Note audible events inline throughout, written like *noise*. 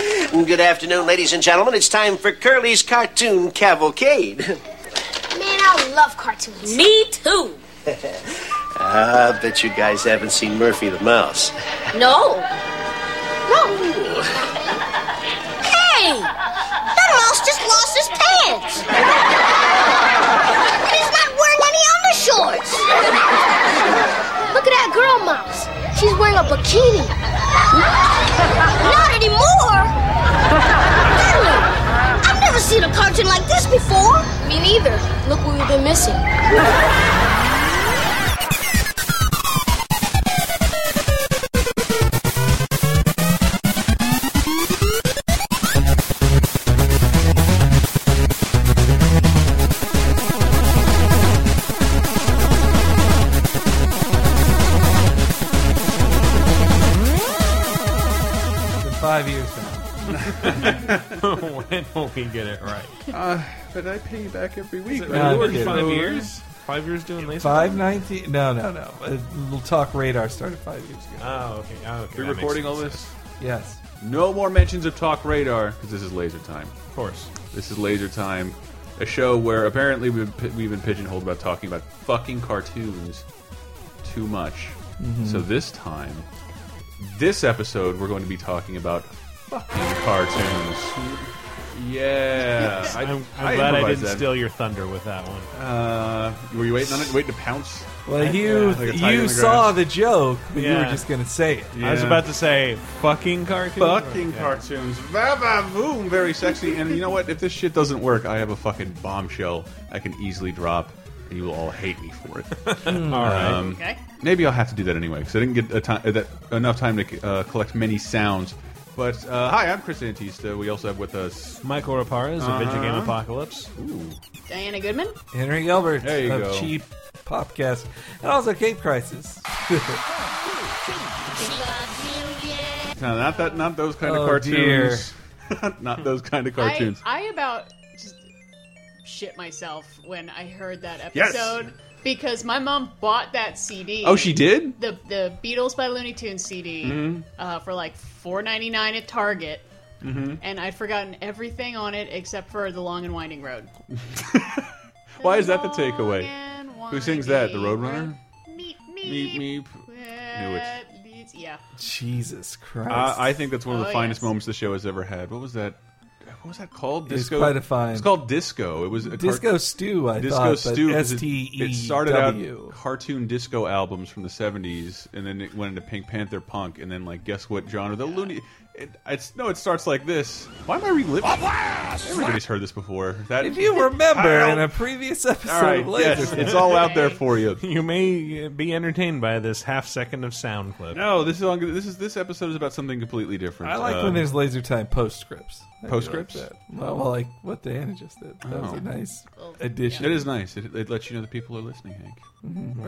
And good afternoon, ladies and gentlemen. It's time for Curly's Cartoon Cavalcade. *laughs* Man, I love cartoons. Me too. I Ah, bet you guys haven't seen Murphy the Mouse. No. No. hey! That mouse just lost his pants. and he's not wearing any undershorts. Look at that girl mouse. She's wearing a bikini. not anymore. Finally. I've never seen a cartoon like this before. Me neither. Look what we've been missing. in five years from now. when will we get it right? But I pay you back every week. Yeah, I I work did. for- Uh, five years? Five years doing laser? Five nineteen? No, no, no. Uh, Little Talk Radar started five years *laughs* ago. Oh, okay. Oh, okay. We're that makes recording all sense. this. Yes. No more mentions of Talk Radar because this is laser time. Of course. This is laser time, a show where apparently we've been, we've been pigeonholed about talking about fucking cartoons too much. So this time, this episode, we're going to be talking about fucking cartoons. *laughs* Yeah, I, I'm, I'm I glad I improvised didn't that. steal your thunder with that one. Uh, were you waiting on it? Waiting to pounce? Well, you like a tiger in you the saw grass. the joke, but you were Yeah. just gonna say it. I was Yeah. about to say fucking cartoon. Fucking cartoons. Va va voom. Very sexy. And you know what? If this shit doesn't work, I have a fucking bombshell I can easily drop, and you will all hate me for it. *laughs* All right. Okay. Maybe I'll have to do that anyway because I didn't get a time, that, enough time to uh, collect many sounds. But uh, hi, I'm Chris Antista. We also have with us. Michael Rapara is a video game apocalypse. Ooh, Diana Goodman. Henry Gilbert There you of go. Cheap Popcast, and also Cape Crisis. no, uh, not that, not those kind Oh, of cartoons. *laughs* not those kind of cartoons. I, I about just shit myself when I heard that Yes. episode because my mom bought that CD. oh, she Mm-hmm. did. the the Beatles by Looney Tunes CD uh, for like four ninety nine at Target. Mm-hmm. And I'd forgotten everything on it except for the long and winding road. Why is that the Long takeaway? and Who sings that? The winding Roadrunner. road. Meet me. Meep meep. Knew it. Yeah. Jesus Christ! Uh, I think that's one of the Oh, finest yes. moments the show has ever had. What was that? What was that called? was quite a find. It's called Disco. It was a Disco cart- Stew. I Disco thought, Stew. but 'cause S it- T E W. It started out cartoon disco albums from the '70s, and then it went into Pink Panther punk, and then like guess what genre? The Looney. It, it's no. It starts like this. Why am I reliving? Everybody's heard this before. That If you remember Ow. in a previous episode all right, of Laser, yes, it's all out there for you. You may uh, be entertained by this half second of sound clip. No, this is on, this is this episode is about something completely different. I like Uh, when there's Laser Time postscripts. I do Postscripts? Like that. well, well, like what Diana just did. That was Oh. a nice addition. It is nice. It, it lets you know that people are listening, Hank. Or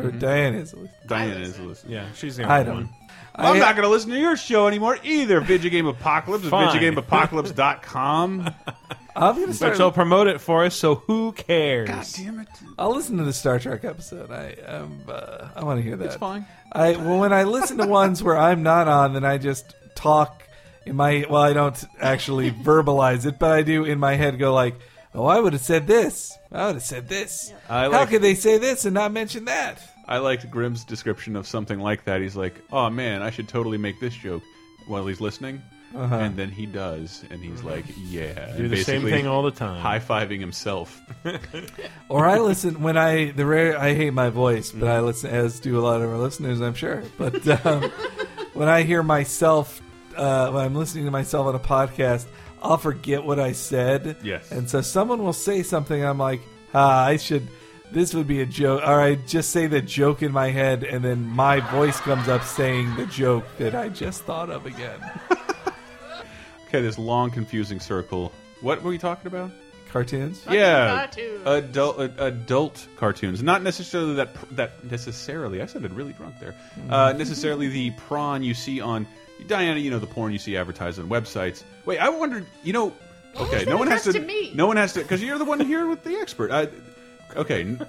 Mm-hmm. Diana is. at least. Diana is listening. Yeah, she's the only I don't. one. I'm I- not going to listen to your show anymore either. Video Game Apocalypse, Fine. videogameapocalypse.com. *laughs* I'm gonna start. But they'll promote it for us, so who cares? damn it. I'll listen to the Star Trek episode. I um, uh, I want to hear that. It's fine. I well, when I listen to ones where I'm not on, then I just talk in my. Well, I don't *laughs* actually verbalize it, but I do in my head go like, "Oh, I would have said this. I would have said this. I How like- could they say this and not mention that?" I liked Grimm's description of something like that. He's like, oh man, I should totally make this joke while he's listening. And then he does. And he's like, yeah. Mm-hmm. Do and the same basically thing all the time. High fiving himself. Or I listen when I the rare I hate my voice, but I listen as do a lot of our listeners, I'm sure. But *laughs* um, when I hear myself, uh, when I'm listening to myself on a podcast, I'll forget what I said. Yes. and so someone will say something, I'm like, ah, I should. This would be a joke, or I just say the joke in my head, and then my voice comes up saying the joke that I just thought of again. okay, this long, confusing circle. What were we talking about? Cartoons. yeah, cartoons. adult ad- adult cartoons, not necessarily that pr- that necessarily. I sounded really drunk there. Uh, Mm. necessarily the prawn you see on Diana, you know the porn you see advertised on websites. Wait, I wondered, you know, okay, was no that one has to, addressed to me? no one has to, because you're the one here with the expert. I, okay. n-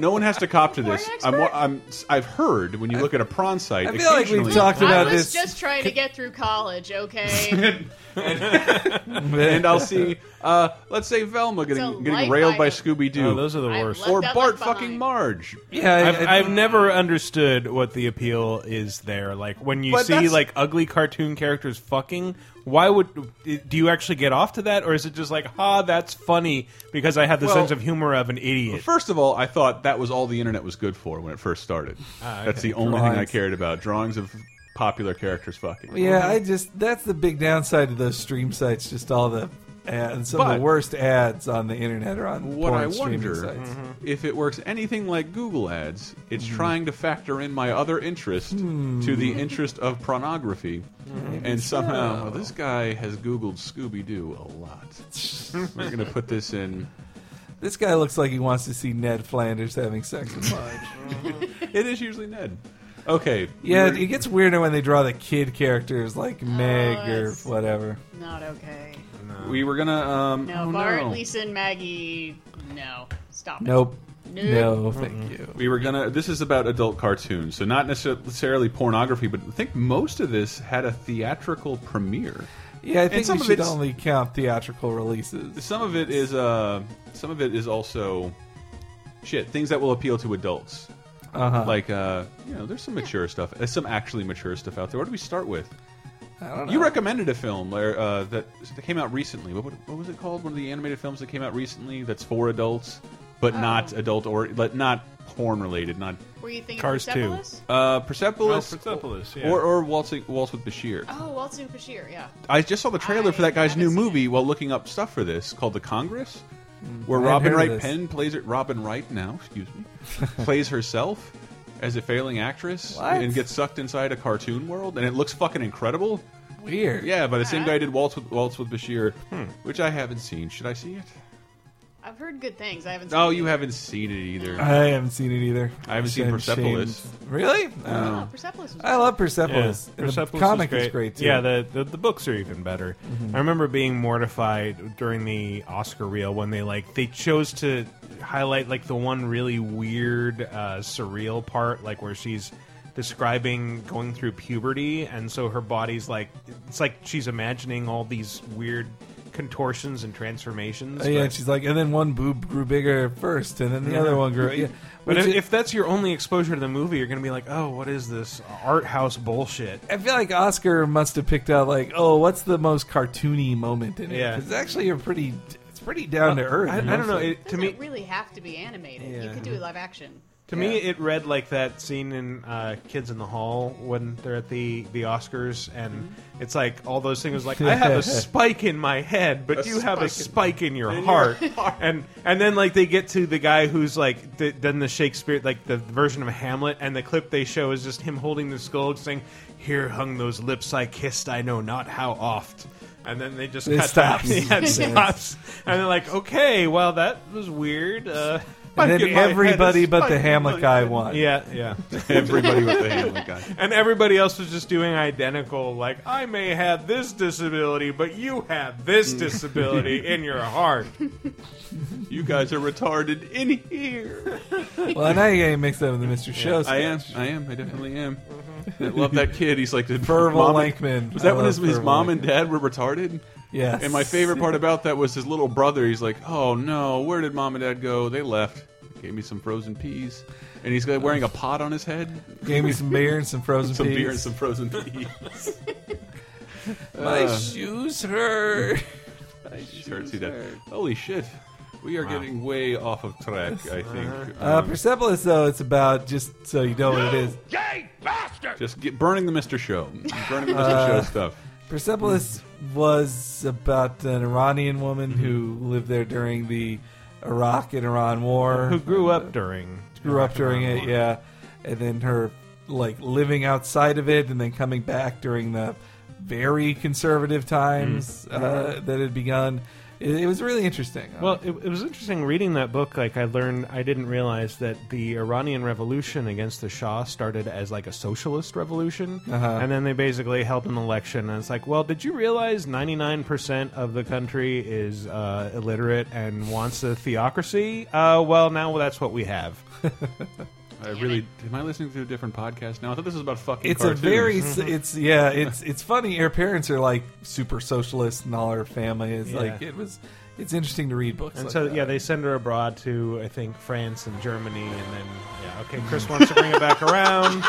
No one has to cop *laughs* to this. Porn I'm, wa- I'm, I've heard when you look at a prawn site. I feel like we've occasionally- talked about I this. was *laughs* just trying to get through college, okay? and I'll see, uh, let's say Velma getting getting light railed by item. Scooby Doo, Oh, those are the I worst. love- or Left out, Bart left fucking behind. Marge. yeah, I- I've, I- I've never understood what the appeal is there. Like when you But see that's- like ugly cartoon characters fucking, why would do you actually get off to that, or is it just like, ha, that's funny because I have the Well- sense of humor of an idiot? First of all, I thought that was all the internet was good for when it first started. That's the only thing I Drawings. cared about: drawings of popular characters fucking. yeah, I just that's the big downside of those stream sites. Just all the and some of But- the worst ads on the internet are on What porn I streaming wonder mm-hmm. sites. Mm-hmm. if it works anything like Google Ads, it's trying to factor in my other interest Hmm. to the interest of pornography, and somehow well, this guy has Googled Scooby Doo a lot. We're gonna put this *laughs* in. This guy looks like he wants to see Ned Flanders having sex with Marge. It is usually Ned. Okay. yeah, we're- it gets weirder when they draw the kid characters like Meg or it's- whatever. Not okay. we were gonna. Um, No, oh, Bart, no. Lisa, and Maggie. No, stop. it. Nope. Nope. No, thank you. We were gonna. This is about adult cartoons, so not necessarily pornography, but I think most of this had a theatrical premiere. Yeah, I think some we of should it's- only count theatrical releases. Some of it is. Uh, some of it is also shit things that will appeal to adults. Uh-huh. Like, uh, you know, there's some mature stuff. There's some actually mature stuff out there. What do we start with? I don't know. You recommended a film or, uh, that that came out recently. What, would- what was it called? One of the animated films that came out recently that's for adults, but Oh. not adult or but not porn related. Not Were you thinking Cars two. Persepolis? uh, Persepolis, Oh, Persepolis, yeah. or or Waltzing, Waltz with Bashir. Oh, Waltz and Bashir. Yeah. I just saw the trailer for that I guy's haven't new seen movie while looking up stuff for this called The Congress, where I've heard Robin of Wright this. Penn plays it. Robin Wright now, excuse me, *laughs* plays herself as a failing actress What? and gets sucked inside a cartoon world, and it looks fucking incredible. Weird. Yeah, by the same guy did Waltz with Waltz with Bashir, Hmm. which I haven't seen. Should I see it? I've heard good things. I haven't. Seen Oh, it you either. haven't seen it *laughs* either. I haven't seen it either. I haven't seen Shame- Persepolis. shame. Really? Uh, Oh, Persepolis. Was I love Yeah. Persepolis. And Persepolis the was comic is great too. Mm-hmm. Yeah, the, the the books are even better. I remember being mortified during the Oscar reel when they like they chose to highlight like the one really weird uh, surreal part, like where she's describing going through puberty, and so her body's like it's like she's imagining all these weird contortions and transformations. Uh, yeah, but- and she's like, and then one boob grew bigger first, and then the other one grew. *laughs* Yeah, but if, Which- if that's your only exposure to the movie, you're going to be like, "Oh, what is this art house bullshit?" I feel like Oscar must have picked out like, oh, what's the most cartoony moment in it? Yeah. 'Cause it's actually a pretty, it's pretty down to earth. I, I you don't know. It's like- It, to doesn't me, it really have to be animated. You Yeah. could do it live action. To me, it read like that scene in uh, Kids in the Hall when they're at the, the Oscars, and it's like all those things. Like I have *laughs* a spike in my head, but you have a spike in your *laughs* heart, and and then like they get to the guy who's like th- done the Shakespeare like the version of Hamlet, and the clip they show is just him holding the skull, saying, "Here hung those lips I kissed, I know not how oft." And then they just It cut stops. back. *laughs* Yeah, it stops. And they're like, "Okay, well, that was weird." Uh, *laughs* and spike then in my head, a everybody but spike the in Hamlet my guy won. yeah, yeah. Everybody with the Hamlet guy. and everybody else was just doing identical. Like, I may have this disability, but you have this disability in your heart. You guys are retarded in here. Well, now you're getting mixed up with the *laughs* Mr. Show. I am. sketch. I am. I definitely am. I love that kid. He's like the Perval mom and- Mm-hmm. Lankman. Was I that when love his, his Perval mom and dad were retarded? Yes. And my favorite part about that was his little brother. He's like, "Oh no, where did mom and dad go? They left. Gave me some frozen peas." And he's got- wearing a pot on his head, *laughs* gave me some beer and some frozen some peas. beer, and some frozen *laughs* peas. My shoes hurt. Sure, see that. Holy shit, we are getting way off of track. I think. Uh, Um, Persepolis, though, it's about just so you know what it is. just get, burning the *laughs* Mister Show, burning the Mister Uh, Show stuff. Persepolis was about an Iranian woman who Mm-hmm. lived there during the Iraq and Iran war. *laughs* Who grew up during? grew up during it, yeah. And then her like living outside of it and then coming back during the very conservative times uh, that had begun. It, it was really interesting. Mm-hmm. Well, it, it was interesting reading that book. Like, I learned, I didn't realize that the Iranian Revolution against the Shah started as like a socialist revolution, Uh-huh. and then they basically held an election. And it's like, well, did you realize ninety nine percent of the country is uh, illiterate and wants a theocracy? Uh, well, now that's what we have. I really am I listening to a different podcast now? I thought this was about fucking. It's cartoons. a very Mm-hmm. s- it's yeah it's it's funny. Her parents are like super socialist, and all her family is Yeah. like it was. It's interesting to read books. And like so that. yeah, they send her abroad to I think France and Germany, and then yeah, okay. Mm-hmm. Chris wants to bring it back *laughs* around.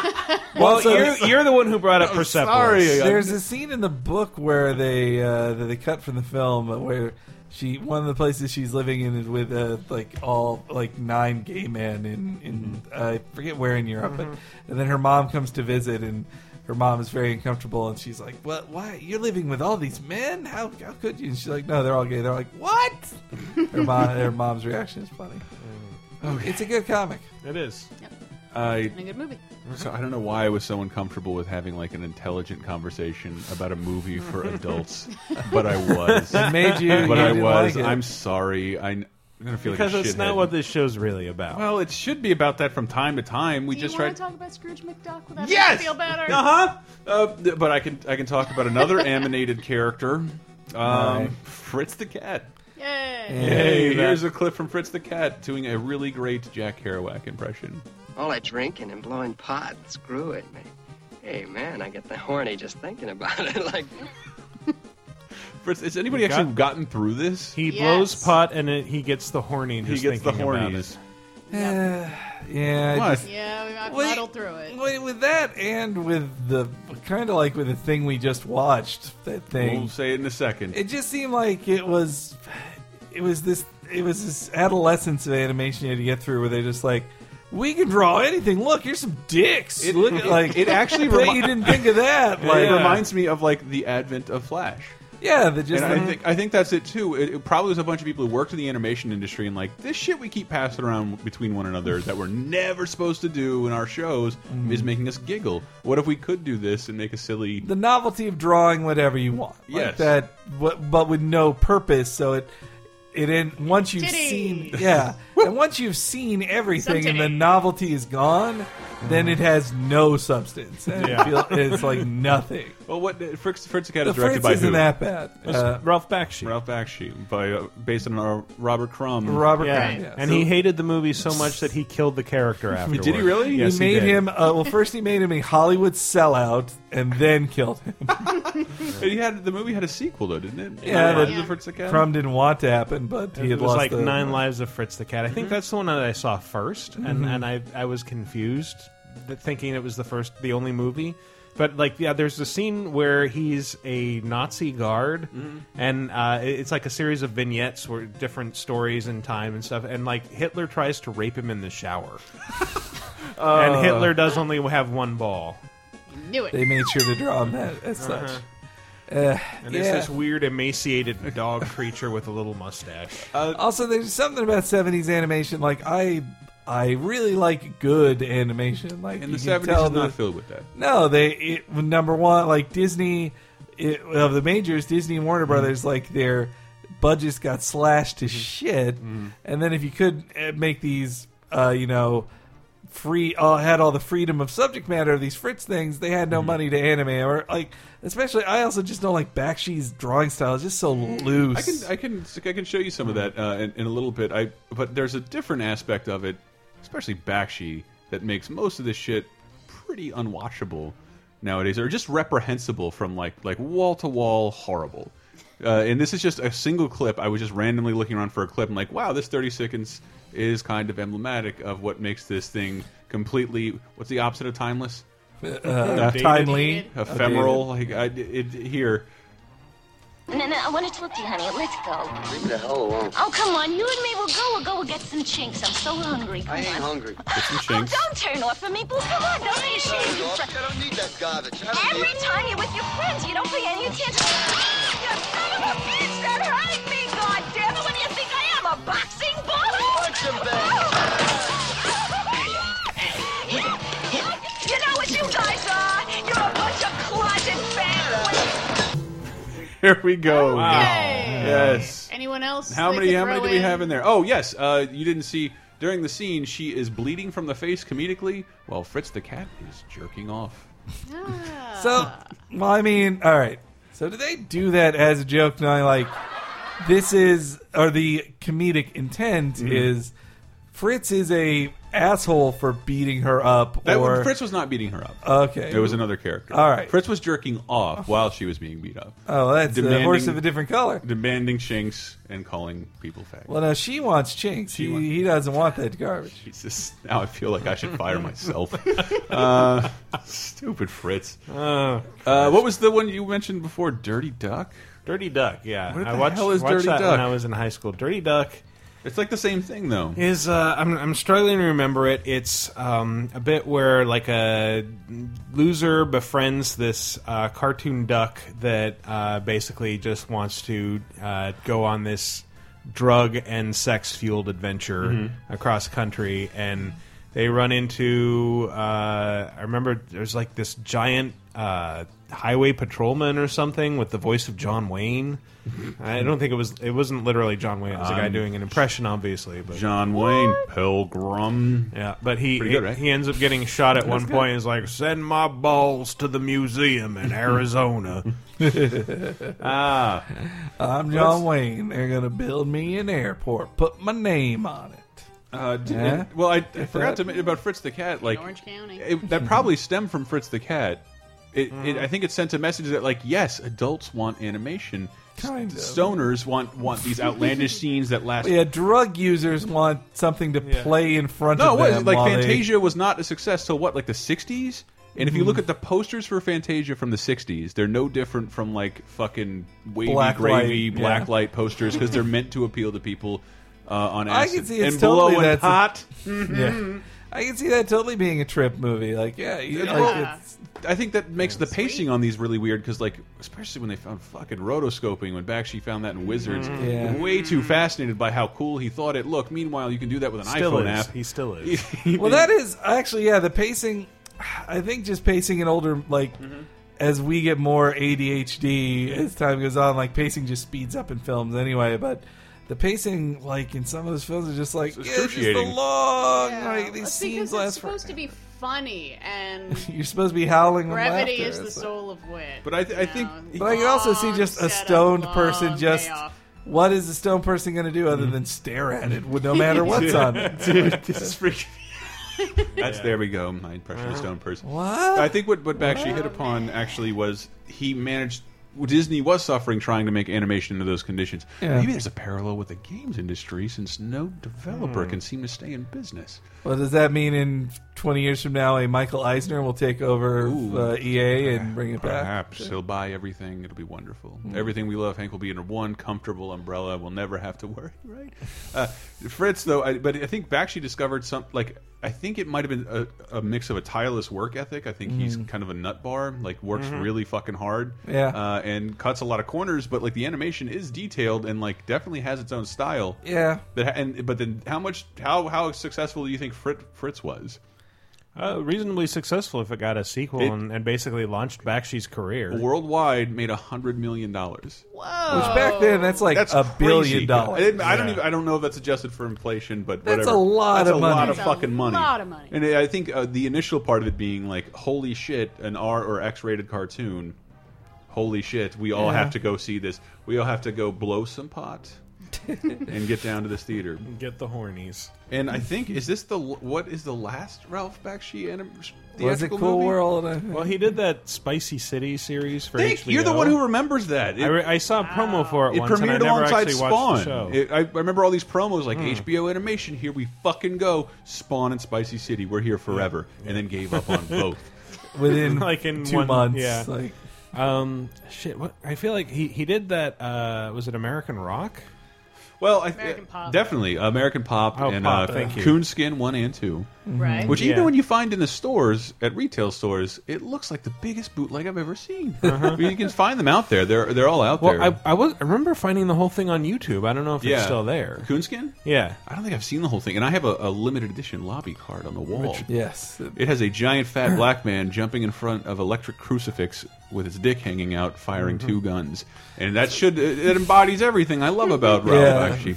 Well, so- you're, you're the one who brought up Persepolis. sorry. There's a scene in the book where they uh, that they cut from the film where she one of the places she's living in is with uh, like all like nine gay men in in Mm-hmm. I forget where in Europe, but and then her mom comes to visit and. Her mom is very uncomfortable, and she's like, "What? Why you're living with all these men? How how could you?" And she's like, "No, they're all gay." They're like, "What?" *laughs* Her mom, her mom's reaction is funny. Mm. It's a good comic. It is. *laughs* I And a good movie. so I don't know why I was so uncomfortable with having like an intelligent conversation about a movie *laughs* for adults, but I was. It made you. *laughs* But you I didn't was. like it. I'm sorry. I, am gonna feel Because like a that's shithead. not what this show's really about. Well, it should be about that from time to time. We Do just you tried. want to talk about Scrooge McDuck without Yes! me feel better? Uh-huh. Uh th- But I can I can talk about *laughs* another animated character, um, Fritz the Cat. Yay. Hey, here's a clip from Fritz the Cat doing a really great Jack Kerouac impression. All that drinking and blowing pot, screw it, man. Hey, man, I get the horny just thinking about it. *laughs* Like, Fritz, has anybody actually got- gotten through this? He Yes. blows pot and it, he gets the horny. He Just gets the thinking about hornies. it. Uh, *sighs* yeah. I What? Yeah, we- I've Wait, muddled through it. Wait, with that and with the kind of like with the thing we just watched, that thing. We'll say it in a second. It just seemed like it was, it was this, it was this adolescence of animation you had to get through, where they just like, we can draw anything. Look, here's some dicks. It- Look, it- like *laughs* it actually Bet remi- you didn't think of *laughs* that. Like, Like, It reminds me of like the advent of Flash. yeah, the just And I the- think I think that's it too. It, it probably was a bunch of people who worked in the animation industry and like this shit we keep passing around between one another that we're never supposed to do in our shows Mm-hmm. is making us giggle. What if we could do this and make a silly? the novelty of drawing whatever you want. Yes. Like that, but, but with no purpose. So it it in once you've Titties. seen yeah, and once you've seen everything and the titties. novelty is gone, then it has no substance. And it feel, it's like *laughs* nothing. Well, what uh, Fritz Fritz the Cat The is directed Fritz by isn't who? that bad. Uh, Ralph Bakshi. Ralph Bakshi, by uh, based on our Robert Crumb. Robert Yeah. Crumb, yeah. and So he hated the movie so much that he killed the character afterwards. *laughs* Did he really? Yes, he made did. him. Uh, well, first he made him a Hollywood sellout, and then killed him. He had the movie had a sequel though, didn't it? Yeah, Rise the- of the Fritz the Cat. Crumb didn't want to happen, but he It had was lost like the- uh, Mm-hmm. Nine Lives of Fritz the Cat. I think that's the one that I saw 1st and, and I I was confused, th- thinking it was the first, the only movie. But like, yeah, there's a scene where he's a Nazi guard, Mm-hmm. and uh, it- it's like a series of vignettes where different stories in time and stuff. And like Hitler tries to rape him in the *laughs* shower, Uh. and Hitler does only have one ball. Knew it. They made sure to draw him that as Uh-huh. such. Uh, And yeah. it's this weird emaciated dog creature with a little mustache. also, there's something about '70s animation. Like I, I really like good animation. Like and you the can seventies tell is not that- filled with that. No, they it, number one like Disney it, of the majors, Disney and Warner Mm-hmm. Brothers, like their budgets got slashed to shit. Mm-hmm. And then if you could uh, make these, uh, you know, free all had all the freedom of subject matter of these Fritz things, they had no Mm-hmm. money to animate or like. Especially, I also just don't like Bakshi's drawing style. It's just so loose. I can I can I can show you some of that uh, in, in a little bit. I but there's a different aspect of it, especially Bakshi, that makes most of this shit pretty unwatchable nowadays, or just reprehensible from like like wall to wall horrible. Uh, and this is just a single clip. I was just randomly looking around for a clip. I'm like, wow, this 30 seconds is kind of emblematic of what makes this thing completely. What's the opposite of timeless? Uh, timely. Dated. Ephemeral. Like I, it, here, No, no, I want to talk to you, honey. Let's go. leave me the hell alone. Oh, come on. You and me will go. We'll go. We'll get some chinks. I'm so hungry. Come I ain't on. hungry. get some Oh, chinks. don't turn off for me, Boo. Come on. Don't be ashamed. I don't need that garbage. I Every time you're with your friends, you don't pay any attention. Ah, you son of a bitch! That hurt me, goddammit! What do you think I am, a boxing ball? Punch him You know what you guys are? You're a bunch of closet faggots. Here we go. Yay. Yes. Anyone else? How they many? could How many throw do we in? have in there? Oh yes, uh, you didn't see during the scene. She is bleeding from the face comedically, while Fritz the cat is jerking off. So, well, I mean, all right. So, do they do that as a joke? Knowing like Mm-hmm. this is, or the comedic intent is, Fritz is a asshole for beating her up That, or Fritz was not beating her up. okay. It was another character. All right. Fritz was jerking off while she was being beat up. oh, that's a demanding- horse of a different color. demanding shinks and calling people faggots. Well, now she wants chinks. he, wants- he doesn't want that garbage. Jesus, now I feel like I *laughs* should fire myself. uh, stupid Fritz. Oh, Uh, what was the one you mentioned before? Dirty Duck. Dirty Duck, yeah. What I the watched, hell is watched Dirty that Duck? when I was in high school. Dirty Duck It's like the same thing though. is uh, I'm, I'm struggling to remember it. It's um, a bit where like a loser befriends this uh, cartoon duck that uh, basically just wants to uh, go on this drug and sex fueled adventure across country, and they run into uh, I remember there's like this giant uh, highway patrolman or something with the voice of John Wayne. I don't think it was it wasn't literally John Wayne. It was a guy Um, doing an impression, obviously, but John Wayne Pilgrim. yeah, but he Pretty good, he- right? he ends up getting shot at one point. He's like, "Send my balls to the museum *laughs* in Arizona." Ah, I'm John Wayne. They're gonna build me an airport. Put my name on it. Uh, d- Yeah. and- well, I, I forgot to mention about Fritz the Cat. Like Orange County. *laughs* it- that probably stemmed from Fritz the Cat. It, Mm-hmm. it, I think it sent a message that like yes, adults want animation. Kind of. Stoners want want these outlandish *laughs* scenes that last Yeah, drug users want something to play in front No, of it was them. like while Fantasia was not a success till what, like the '60s. And if you Mm-hmm. look at the posters for Fantasia from the '60s, they're no different from like fucking wavy Black gravy light, black yeah. light posters because they're meant to appeal to people uh, on I acid can see it's and totally blow and that's a- pot. They, yeah. I can see that totally being a trip movie. Like, yeah, you, like it's, I think that makes the pacing on these really weird because, like, especially when they found fucking rotoscoping, when Bakshi found that in Wizards, Mm-hmm. Yeah. way too fascinated by how cool he thought it looked. Meanwhile, you can do that with an still iPhone is. app. He still is. well, that is actually yeah. The pacing, I think, just pacing an older like. As we get more ADHD as time goes on, like pacing just speeds up in films anyway. But the pacing, like in some of those films, is just like yeah, it's just a excruciating. long. Yeah. Like these That's scenes because last it's supposed forever. to be funny, and You're supposed to be howling. with brevity laughter. is the It's like- soul of wit. But I th- I you think- know, But But I can also see long just a setup, stone long person just. payoff. What is a stone person going to do other than stare at it, no *laughs* matter what's on it? this is freaking. *laughs* That's there we go. My impression of Stone Person. What? I think what what Bakshi hit upon actually was he managed. Disney was suffering trying to make animation under those conditions. Yeah. Maybe there's a parallel with the games industry since no developer can seem to stay in business. Well, does that mean in 20 years from now, a Michael Eisner will take over Ooh. uh, EA and bring it back? Hmm. Perhaps he'll buy everything. It'll be wonderful. Everything we love, Hank, will be under one comfortable umbrella. We'll never have to *laughs* worry, right? Uh, Fritz, though, I, but I think Bakshi discovered some. Like, I think it might have been a, a mix of a tireless work ethic. I think he's kind of a nut bar. Like, works really fucking hard. Hmm. Mm-hmm. Yeah. Uh, and cuts a lot of corners, but like the animation is detailed and like definitely has its own style. Yeah. That and but then how much how how successful do you think Fritz Fritz was? uh, reasonably successful if it got a sequel It- and, and basically launched Bakshi's career. Worldwide, made a hundred million dollars. Which Oh. back then, that's like That's a crazy. billion I, dollars. didn't- I don't even. I don't know if that's adjusted for inflation, but That's whatever. a lot That's of a money. lot of That's a fucking money. lot of money. And I think uh, the initial part of it being like, "Holy shit, an R or X-rated cartoon." Holy shit, we all have to go see this. We all have to go blow *laughs* some pot and get down to this theater. Get the hornies. And I think is this the what is the last Ralph Bakshi anim- Was it theatrical Cool movie? World? Well, he did that Spicy City series for Dick, HBO. you're the one who remembers that. It- I, re- I saw a promo for it. It once, and I premiered never alongside actually watched the Spawn. show. Hmm. It- I, I remember all these promos like HBO Animation. Here we fucking go. Spawn and Spicy City. We're here forever, and then *laughs* gave up on both. Within like in two one- months. yeah. Like, um, shit. What I feel like he he did that. Uh, was it American Rock? Well, I, American Pop. definitely American Pop Oh, and Pop, uh, thank you. Mm-hmm. Coonskin one and two. right? Which Yeah. even when you find in the stores at retail stores, it looks like the biggest bootleg I've ever *laughs* seen. I mean, you can find them out there. They're they're all out Uh-huh. Well, there. I, I was I remember finding the whole thing on YouTube. I don't know if Yeah. it's still there. Coonskin. Yeah. I don't think I've seen the whole thing, and I have a, a limited edition lobby card on the wall. yes. It has a giant fat black man jumping in front of electric crucifix with his dick hanging out, firing two Mm-hmm. guns, and that should it embodies everything I love about Rob Yeah. *laughs* actually.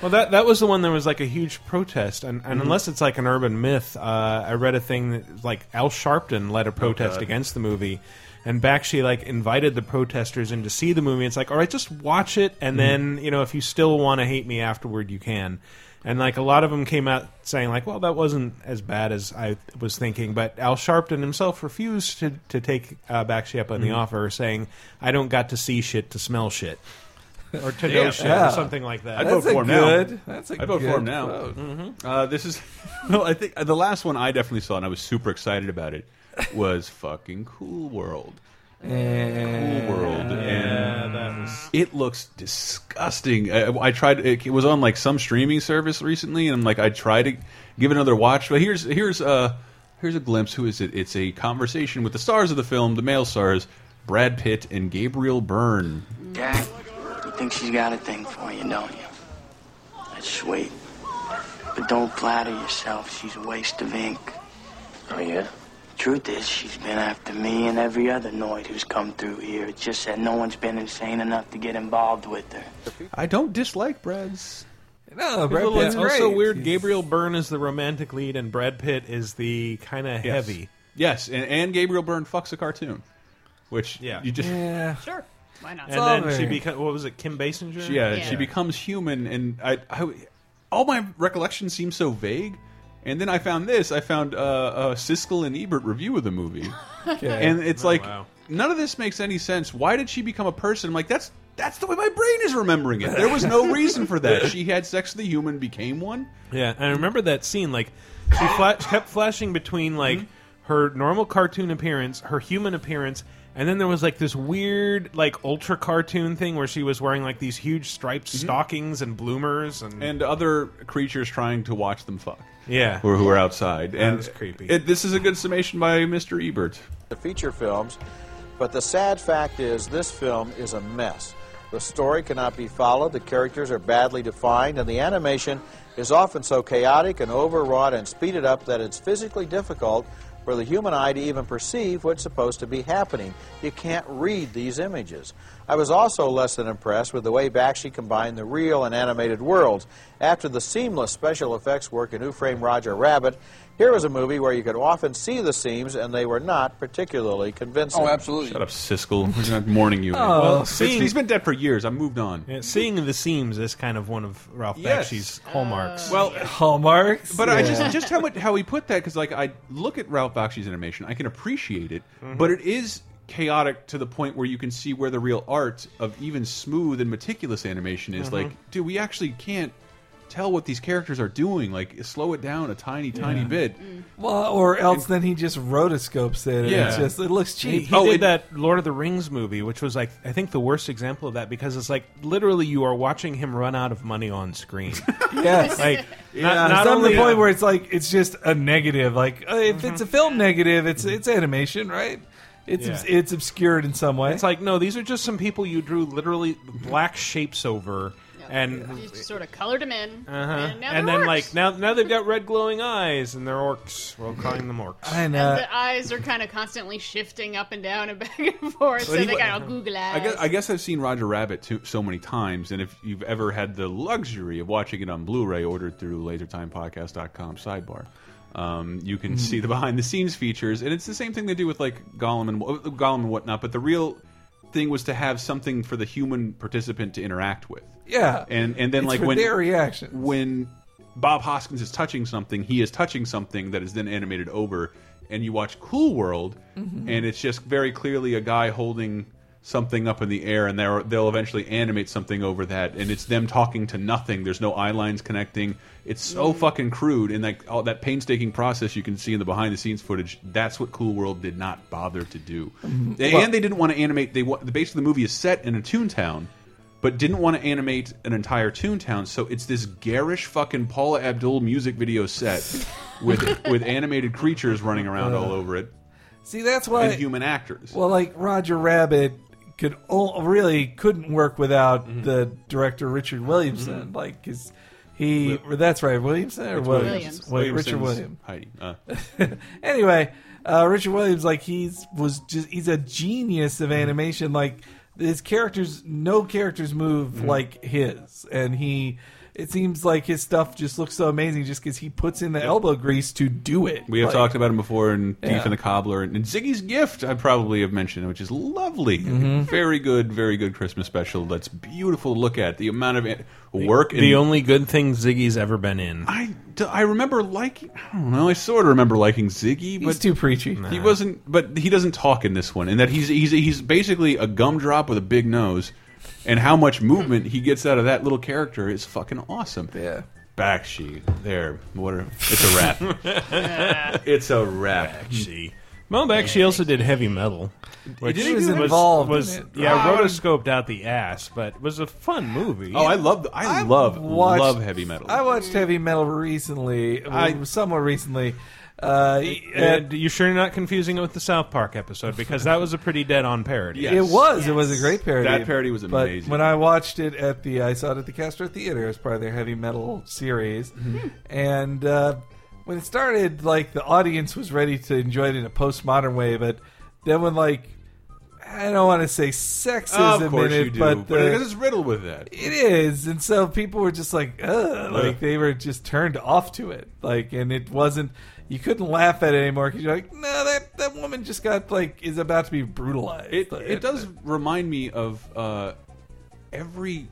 Well, that that was the one that was like a huge protest, and, Mm-hmm. and unless it's like an urban myth, uh, I read a thing that like Al Sharpton Oh, led a protest against the movie, and Bakshi like invited the protesters in to see Mm-hmm. the movie. It's like, all right, just watch it, and then you know if you still want to hate me afterward, you can. And like a lot of them came out saying like, well, that wasn't as bad as I was thinking. But Al Sharpton himself refused to to take uh, Bakshi up on Mm-hmm. the offer, saying, I don't got to see shit to smell shit. Or to know *laughs* shit, Yeah. or something like that. I'd vote That's a for him now. good. That's a I vote good for him now. vote. Uh, this is *laughs* well, I think uh, the last one I definitely saw, and I was super excited about it. Was fucking Cool World. Cool World, and it looks disgusting. I, I tried. It, was on like some streaming service recently, and I'm like, I tried to give it another watch. But here's here's uh here's a glimpse. Who is it? It's a conversation with the stars of the film, the male stars, Brad Pitt and Gabriel Byrne. Jack, you think she's got a thing for you, don't you? That's sweet. But don't flatter yourself. She's a waste of ink. Oh, yeah? Truth is, she's been after me and every other Noid who's come through here. It's just that no one's been insane enough to get involved with her. I don't dislike Brad's. No, Brad Well, Pitt's it's also great. weird. He's- Gabriel Byrne is the romantic lead, and Brad Pitt is the kind of heavy. Yes, and, and Gabriel Byrne fucks a cartoon, which Yeah. you just yeah, *laughs* Yeah. Sure. Why not? And all then very- she becomes what was it, Kim Basinger? she becomes human, and I, I all my recollections seem so vague. And then I found this. I found uh, uh, Siskel and Ebert review of the movie, and it's like Oh, wow. none of this makes any sense. Why did she become a person? I'm like that's that's the way my brain is remembering it. There *laughs* was no reason for that. She had sex with a human, became one. Yeah, and I remember that scene. Like, she fla- kept flashing between like her normal cartoon appearance, her human appearance, and then there was like this weird, like ultra cartoon thing where she was wearing like these huge striped stockings and bloomers, Mm-hmm. and, and other creatures trying to watch them fuck. Yeah. who, who are outside. and was creepy. It, this is a good summation by Mr. Ebert. the feature films, but the sad fact is this film is a mess. The story cannot be followed, the characters are badly defined, and the animation is often so chaotic and overwrought and speeded up that it's physically difficult for the human eye to even perceive what's supposed to be *laughs* happening. You can't read these images. I was also less than impressed with the way Bakshi combined the real and animated worlds. After the seamless special effects work in Who Framed Roger Rabbit, here was a movie where you could often see the seams, and they were not particularly convincing. absolutely. Shut up, Siskel. We're not *laughs* mourning you. Well, It's- Oh, seeing- he's been dead for years. I moved on. Yeah, seeing the seams is kind of one of Ralph Yes. Bakshi's hallmarks. Well, Oh, Hallmarks. but uh, I just Yeah. just how much how he put that because like I look at Ralph Bakshi's animation, I can appreciate it, but it is chaotic to the point where you can see where the real art of even smooth and meticulous animation is. Like, dude, we actually can't tell what these characters are doing. Like, slow it down a tiny, tiny bit. Well, or else then he just rotoscopes it. And Yeah. It's just it looks He, cheap. he Oh, did it- that Lord of the Rings movie, which was like I think the worst example of that because it's like literally you are watching him run out of money on *laughs* screen. *laughs* yes. like Not, not, not on only uh, the point uh, where it's like it's just a negative. Like uh, if it's a film negative, it's it's animation, right? It's Yeah. obs- it's obscured in some way. it's like no, these are just some people you drew literally black shapes over, and You just sort of colored them in, uh-huh. and now and they're then orcs. like now now they've got red glowing eyes and they're orcs. We're calling them orcs. and, And uh, the eyes are kind of constantly shifting up and down and *laughs* back and forth, so he- they got all googly eyes. I guess, I guess I've seen Roger Rabbit too, so many times, and if you've ever had the luxury of watching it on Blu-ray ordered through LaserTimePodcast.com sidebar, um, you can see the behind-the-scenes features, and it's the same thing they do with like Gollum and uh, Gollum and whatnot. But the real thing was to have something for the human participant to interact with, yeah, and and then It's like for when their reaction. when Bob Hoskins is touching something, he is touching something that is then animated over, and you watch Cool World, Mm-hmm. and it's just very clearly a guy holding something up in the air, and they're, they'll eventually animate something over that, and it's them talking to nothing. There's no eye lines connecting. It's Mm. so fucking crude, and like all that painstaking process you can see in the behind the scenes footage. That's what Cool World did not bother to do, Mm-hmm. and, and they didn't want to animate. They wa- the base of the movie is set in a Toontown but didn't want to animate an entire Toontown, so it's this garish fucking Paula Abdul music video set *laughs* with with animated creatures running around all over it See, that's and why human actors. Uh, Well, like Roger Rabbit could o- really couldn't work without Mm-hmm. the director Richard Williamson, like because he that's right Williamson or Williams, Williams. Wait, Richard Williamson's Williams. Heidi. Uh, Anyway, uh, Richard Williams, like he's was just he's a genius Mm-hmm. of Mm-hmm. animation. Like his characters, no characters move like his, and he. It seems like his stuff just looks so amazing just because he puts in the elbow grease to do it. We have Like, talked about him before in Thief Yeah. and the Cobbler and, and Ziggy's Gift. I probably have mentioned, which is lovely, Mm-hmm. very good, very good Christmas special. That's beautiful to look at. The amount of it- work. The and- only good thing Ziggy's ever been in. I, I remember liking. I don't know. I sort of remember liking Ziggy, but He's too preachy. He wasn't, but he doesn't talk in this one, and that he's he's he's basically a gumdrop with a big nose, and how much movement he gets out of that little character is fucking awesome. Yeah, Bakshi, there, what a, it's *laughs* a wrap. it's a wrap. Hmm. Bakshi. Well, back she also did heavy metal. Which he was involved in Was, it. yeah, Um, Ah. rotoscoped out the ass, but was a fun movie. Oh, I love I, *laughs* love watched- love heavy metal. I watched heavy metal recently, I- somewhat recently. Uh, And you sure you're not confusing it with the South Park episode because that was a pretty dead-on parody. Yes. It was. It was a great parody. That parody was amazing. But when I watched it at the, I saw it at the Castro Theater as part of their heavy metal series, Mm-hmm. Hmm. and uh, when it started, like the audience was ready to enjoy it in a postmodern way, but then when like. I don't want to say sexism of course in it, you do, but uh, the, because it's riddled with that. it is, and so people were just like, Ugh, Ugh. like they were just turned off to it, like, and it wasn't. You couldn't laugh at it anymore because you're like, no, that that woman just got like is about to be brutalized. It Like, it does remind me of uh, every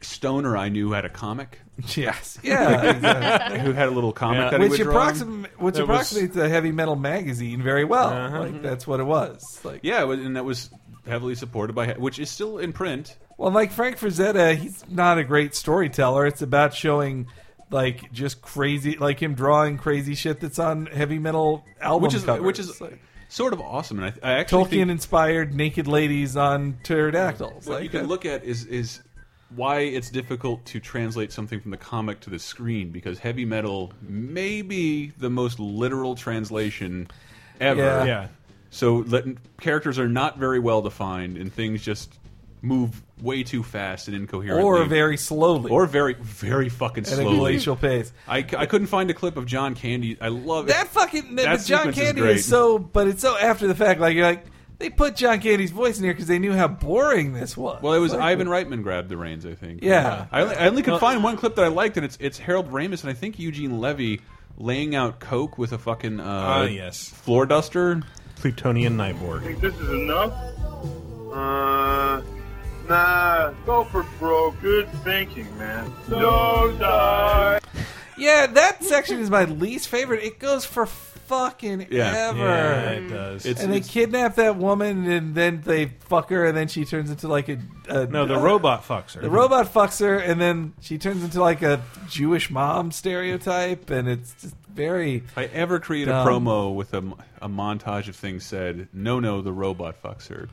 stoner I knew had a comic. *laughs* *laughs* Yes. Yeah. exactly. who had a little comic Yeah. uh, that he Which, would draw. approxim- which It was- approximates a heavy metal magazine very well. Uh-huh. Like that's what it was. Like Mm-hmm. Yeah, it was- and that was heavily supported by, which is still in print. Well, like Frank Frazetta, he's not a great storyteller. It's about showing like just crazy, like him drawing crazy shit that's on heavy metal album which is covers. which is like, sort of awesome. And I, I actually Tolkien think inspired naked ladies on pterodactyls. what like you can that. look at is is why it's difficult to translate something from the comic to the screen because heavy metal may be the most literal translation ever. Yeah. Yeah. So let, characters are not very well defined, and things just move way too fast and incoherently, or very slowly, or very very fucking at a slowly. glacial pace. I, c- I couldn't find a clip of John Candy. I love it. That fucking That but John sequence is Candy great. is, so, but it's so after the fact. Like you're like they put John Candy's voice in here because they knew how boring this was. Well, it was Like, Ivan Reitman grabbed the reins, I think. Yeah. I only, I only could find one clip that I liked, and it's it's Harold Ramis and I think Eugene Levy laying out coke with a fucking uh, Ah, yes. floor duster. Plutonian Nightborg. Think this is enough? Uh, nah. Go for broke. Good thinking, man. So die. yeah, that section is my least favorite. It goes for fucking Yeah. ever. Yeah, it does. It's, and they it's- kidnap that woman, and then they fuck her, and then she turns into like a, a no, the a- robot fucks her. The robot fucks her, and then she turns into like a Jewish mom stereotype, and it's just very. if I ever create Dumb. a promo with a, m- a montage of things said, no, no, the robot fucks her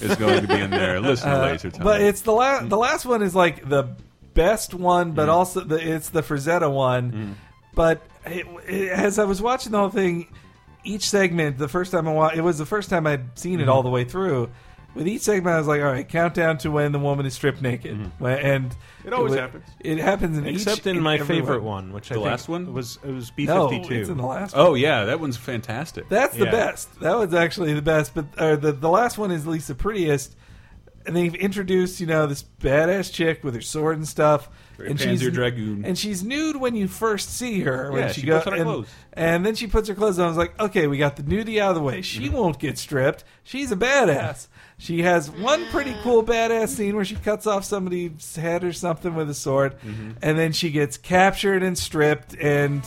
is going to *laughs* be in there. Listen to Laser Time. But it's the Mm. last. The last one is like the best one, but also the it's the Frazetta one. Mm. But it, it, as I was watching the whole thing, each segment the first time I wa- it was the first time I'd seen Mm-hmm. it all the way through. With each segment, I was like, "All right, countdown to when the woman is stripped naked," When- and It always wa- happens. It happens in each- Mm-hmm. Except in my every favorite one, which I The think last one? was it was B No, fifty it's in the two. last. oh, yeah, that one's fantastic. That's the Yeah. best. That was actually the best. But or the the last one is at least the prettiest. And they've introduced you know this badass chick with her sword and stuff, Very and Panzer Dragoon. and she's nude when you first see her. When Yeah, she, she goes puts on her and, clothes. and then she puts her clothes on. I was like, okay, we got the nudity out of the way. She Mm-hmm. won't get stripped. She's a badass. She has one pretty cool badass scene where she cuts off somebody's head or something with a sword, Mm-hmm. and then she gets captured and stripped and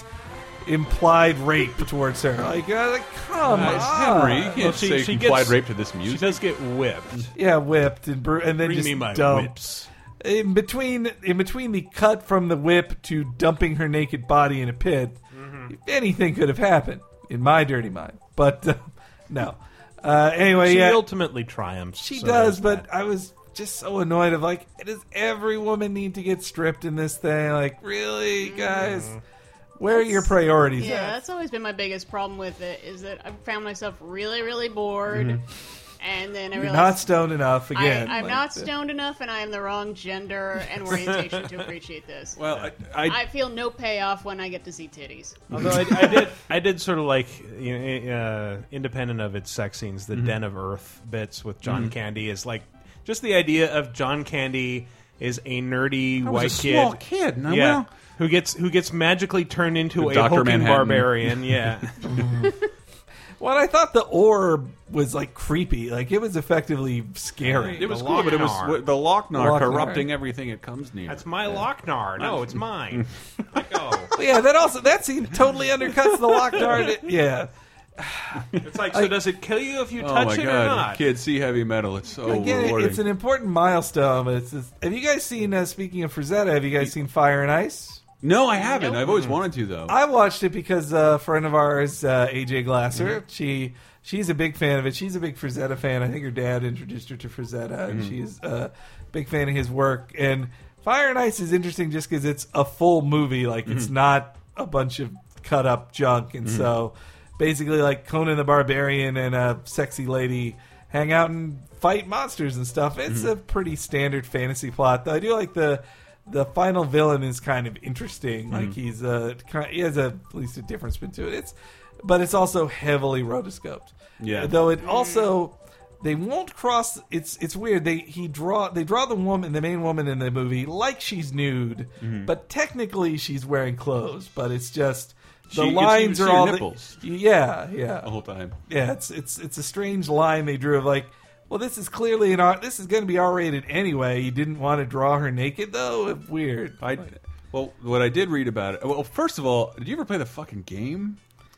implied rape towards her. Like, I was like come Uh, it's on, Henry. You can't Well, she- say she implied gets- rape to this music. She does get whipped. Yeah, whipped and bru- and then Bring just me my dumped. whips. in between in between the cut from the whip to dumping her naked body in a pit, Mm-hmm. anything could have happened in my dirty mind. But uh, *laughs* no. Uh, anyway, She yeah, ultimately triumphs. she so there's does. But that. I was just so annoyed of like, does every woman need to get stripped in this thing? Like, really, Mm-hmm. guys? Where are your priorities? Yeah, at? that's always been my biggest problem with it is that I've found myself really, really bored, and then I You're realized not stoned enough again. I, I'm Like, uh, not the- stoned enough, and I am the wrong gender and orientation to appreciate this. well, I, I, I feel no payoff when I get to see titties. Although I, I did, I did sort of like, you eh, know, uh, independent of its sex scenes, Mm-hmm. the Den of Earth bits with John Candy is like just the idea of John Candy is a nerdy I was white a small kid, and I- yeah, well- who gets who gets magically turned into a Dr. hulking Manhattan. barbarian. *laughs* Yeah, Well, I thought the orb was like creepy. Like it was effectively scary. It was cool, but it was w- the Lochnar, corrupting everything it comes near. That's my Lochnar. No, *laughs* it's mine. Well, yeah, that also that scene totally undercuts the *laughs* Lochnar. It- Yeah. It's like, so Like- does it kill you if you oh touch my it or god, not? kids see heavy metal. It's so Again, rewarding. it's an important milestone. But it's just, have you guys seen? Uh, speaking of Frazetta, have you guys seen Fire and Ice? No, I haven't. I've Mm. always wanted to though. I watched it because uh, a friend of ours, uh, AJ Glasser, she she's a big fan of it. She's a big Frazetta fan. I think her dad introduced her to Frazetta, and Mhm. she's a big fan of his work. And Fire and Ice is interesting just because it's a full movie. Like it's Mhm. not a bunch of cut up junk, and Mhm. so basically, like Conan the Barbarian and a sexy lady hang out and fight monsters and stuff. It's Mhm. a pretty standard fantasy plot, though. I do like the the final villain is kind of interesting. Like Hmm. Mhm. he's a he has a, at least a difference between it. It's, but it's also heavily rotoscoped. Uh, Yeah. Though it also they won't cross. It's it's weird. They he draw they draw the woman the main woman in the movie like she's nude, Mm-hmm. Mhm. but technically she's wearing clothes. But it's just She the gets- you lines see are her all nipples. The, yeah, yeah. The whole time. Yeah, it's it's it's a strange line they drew of like, well, this is clearly an R. This is going to be R rated anyway. You didn't want to draw her naked though. Weird. I well, what I did read about it. Well, first of all, did you ever play the fucking game?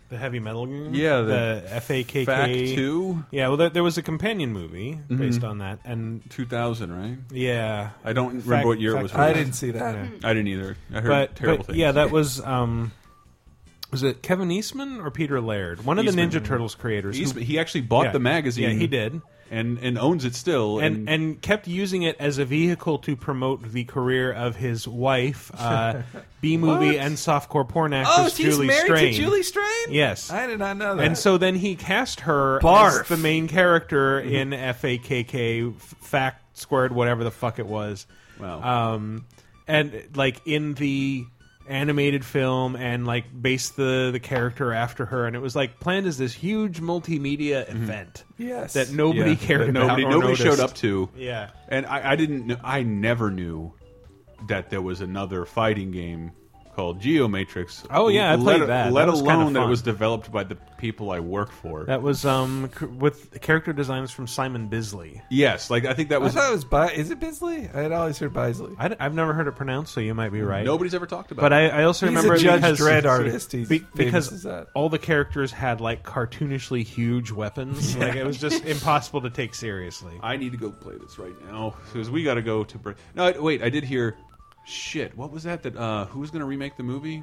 The heavy metal game. Yeah, the, the FAKK. Fact two? Mm-hmm. Yeah, well, there, there was a companion movie based on that, and 2000, right? Yeah, I don't Fact- remember what year it Fact was. two. released. Yeah. I didn't either. I heard but, terrible but, things. Yeah, *laughs* that was um, was it Kevin Eastman or Peter Laird? One of Eastman. the Ninja Turtles creators. who- Eastman- he actually bought Yeah. the magazine. Yeah, he did. and and owns it still. And, and kept using it as a vehicle to promote the career of his wife, uh, *laughs* B What? movie and softcore porn Oh, actress she's Julie married to Strain. Julie Strain. Yes. I did not know that. And so then he cast her Barf. Mm-hmm. as the main character in FAKK F- Fact Squared, whatever the fuck it was. Wow. Um, and like in the animated film, and like based the the character after her, and it was like planned as this huge multimedia event. Mm-hmm. Yes. that nobody Yeah, cared that about. Nobody, or nobody noticed. showed up to. Yeah. and I, I didn't. kn- I never knew that there was another fighting game called Geomatrix. Oh, yeah, I played let, that. Let That was kinda alone that fun. it was developed by the people I work for. That was um c- with character designs from Simon Bisley. yes, like I think that was. I thought it was Bi- is it Bisley? I had always heard Bisley. I, have never heard it pronounced, so you might be right. Nobody's ever talked about But I, it. I also He's remember a Judge because, Dredd artist. He's be- famous because as that. all the characters had like cartoonishly *laughs* huge weapons. Like it was just impossible to take seriously. I need to go play this right now because we got to go to break. No, I- wait. I did hear. Shit, what was that? That uh, who was going to remake the movie?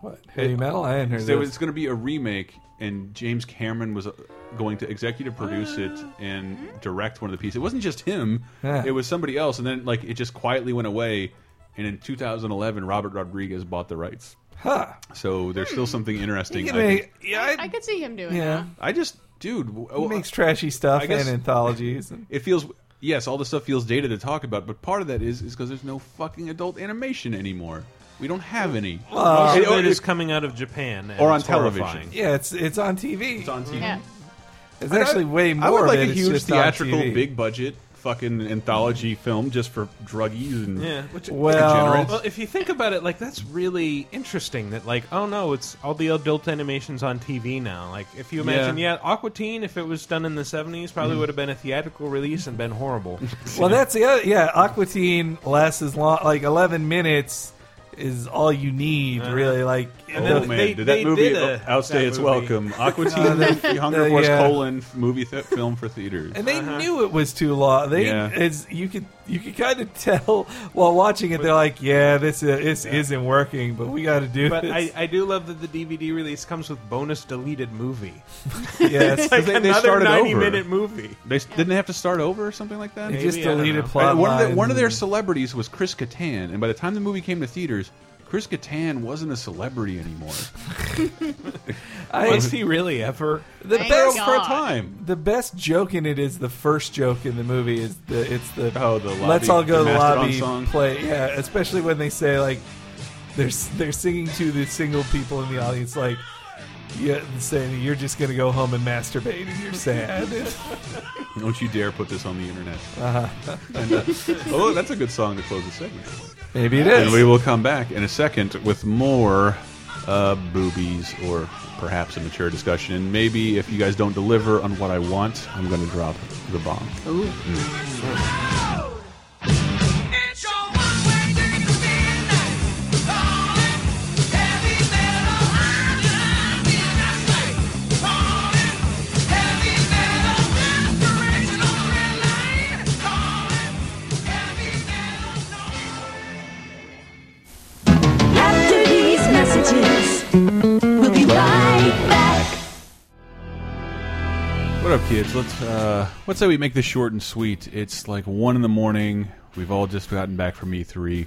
What heavy metal? I hadn't heard. There this. was going to be a remake, and James Cameron was uh, going to executive produce it and direct one of the pieces. It wasn't just him; Yeah. it was somebody else. And then, like, it just quietly went away. And in 2011, Robert Rodriguez bought the rights. Huh. So there's still something interesting. You I, can make- think. yeah, I, I could see him doing yeah. that. I just, dude, w- He well, makes trashy stuff I guess- and anthologies. And, it feels. Yes, all this stuff feels dated to talk about, but part of that is is because there's no fucking adult animation anymore. We don't have any. Most It- of it it- is coming out of Japan and Or on it's television. horrifying. yeah, it's it's on TV. It's on TV. Yeah. It's I- actually I- way more. I would like of it. a It's huge just on theatrical, TV. big budget fucking anthology film just for druggies and Oh, Yeah, which degenerates. well, if you think about it, like that's really interesting. That like, oh no, it's all the adult animations on TV now. Like, if you imagine, yeah, Mm-hmm. Aqua Teen, if it was done in the seventies, probably would have been a theatrical release and been horrible. *laughs* Well, that's the other. Yeah, Aquatine lasts as long, like eleven minutes is all you need, Uh-huh. really. Like, And Oh then man, they- did they that movie did a- outstay that its movie. welcome? *laughs* Aqua Uh, Teen, they- the Hunger Force yeah. colon movie th film for theaters. and they Uh-huh. knew it was too long. They, Yeah. it's, you could you could kind of *laughs* tell while watching it. They're like, yeah, this is, this isn't working, but we got to do But *laughs* this. I, *laughs* I do love that the DVD release comes with bonus deleted movie. Yes. It's like They- they another started ninety over. minute movie. They s- didn't they have to start over or something like that. They just Maybe, I don't deleted know. plot one, of lines the, one of their and- celebrities was Chris Kattan, and by the time the movie came to theaters, Chris Kattan wasn't a celebrity anymore. I- Was he really ever? The Thank best God. For a time. The best joke in it is the first joke in the movie. Is the it's the Oh, the lobby- let's all go the to the Mastodon lobby song. play. Yeah, especially when they say like they're s- they're singing to the single people in the audience like. yeah, saying you're just gonna go home and masturbate and you're sad. Don't you dare put this on the internet. Uh-huh. and, uh, *laughs* oh, that's a good song to close the segment. Maybe it And is. we will come back in a second with more uh, boobies or perhaps a mature discussion. And maybe if you guys don't deliver on what I want, I'm going to drop the bomb. Ooh. After these messages, we'll be right back. What up, kids? Let's uh, let's say we make this short and sweet. It's like one in the morning. We've all just gotten back from E3,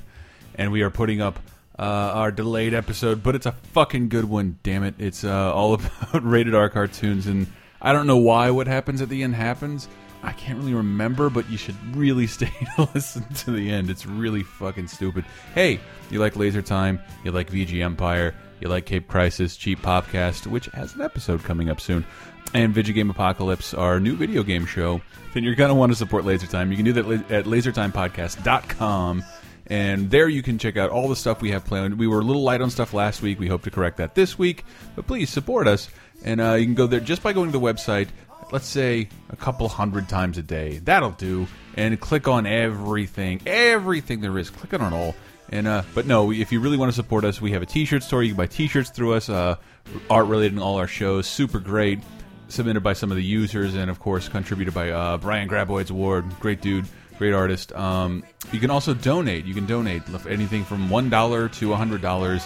and we are putting up uh, our delayed episode, but it's a fucking good one. Damn it! It's uh, all *laughs* about rated R cartoons, and I don't know why what happens at the end happens. I can't really remember, but you should really *laughs* stay to listen to the end. It's really fucking stupid. Hey, you like Laser Time? You like VG Empire? You like Cape Crisis? Cheap Popcast, which has an episode coming up soon and Video Game Apocalypse, our new video game show, then you're going to want to support Laser Time. You can do that la- at lasertimepodcast.com. And there you can check out all the stuff we have planned. We were a little light on stuff last week. We hope to correct that this week. But please support us. And uh, you can go there just by going to the website, let's say a couple hundred times a day. That'll do. And click on everything, everything there is. Click on it all. And uh, but no, if you really want to support us, we have a T-shirt store. You can buy T-shirts through us, uh, art related in all our shows. Super great, submitted by some of the users, and of course contributed by uh, Brian Graboids Ward. Great dude, great artist. Um, you can also donate. You can donate anything from one dollar to hundred dollars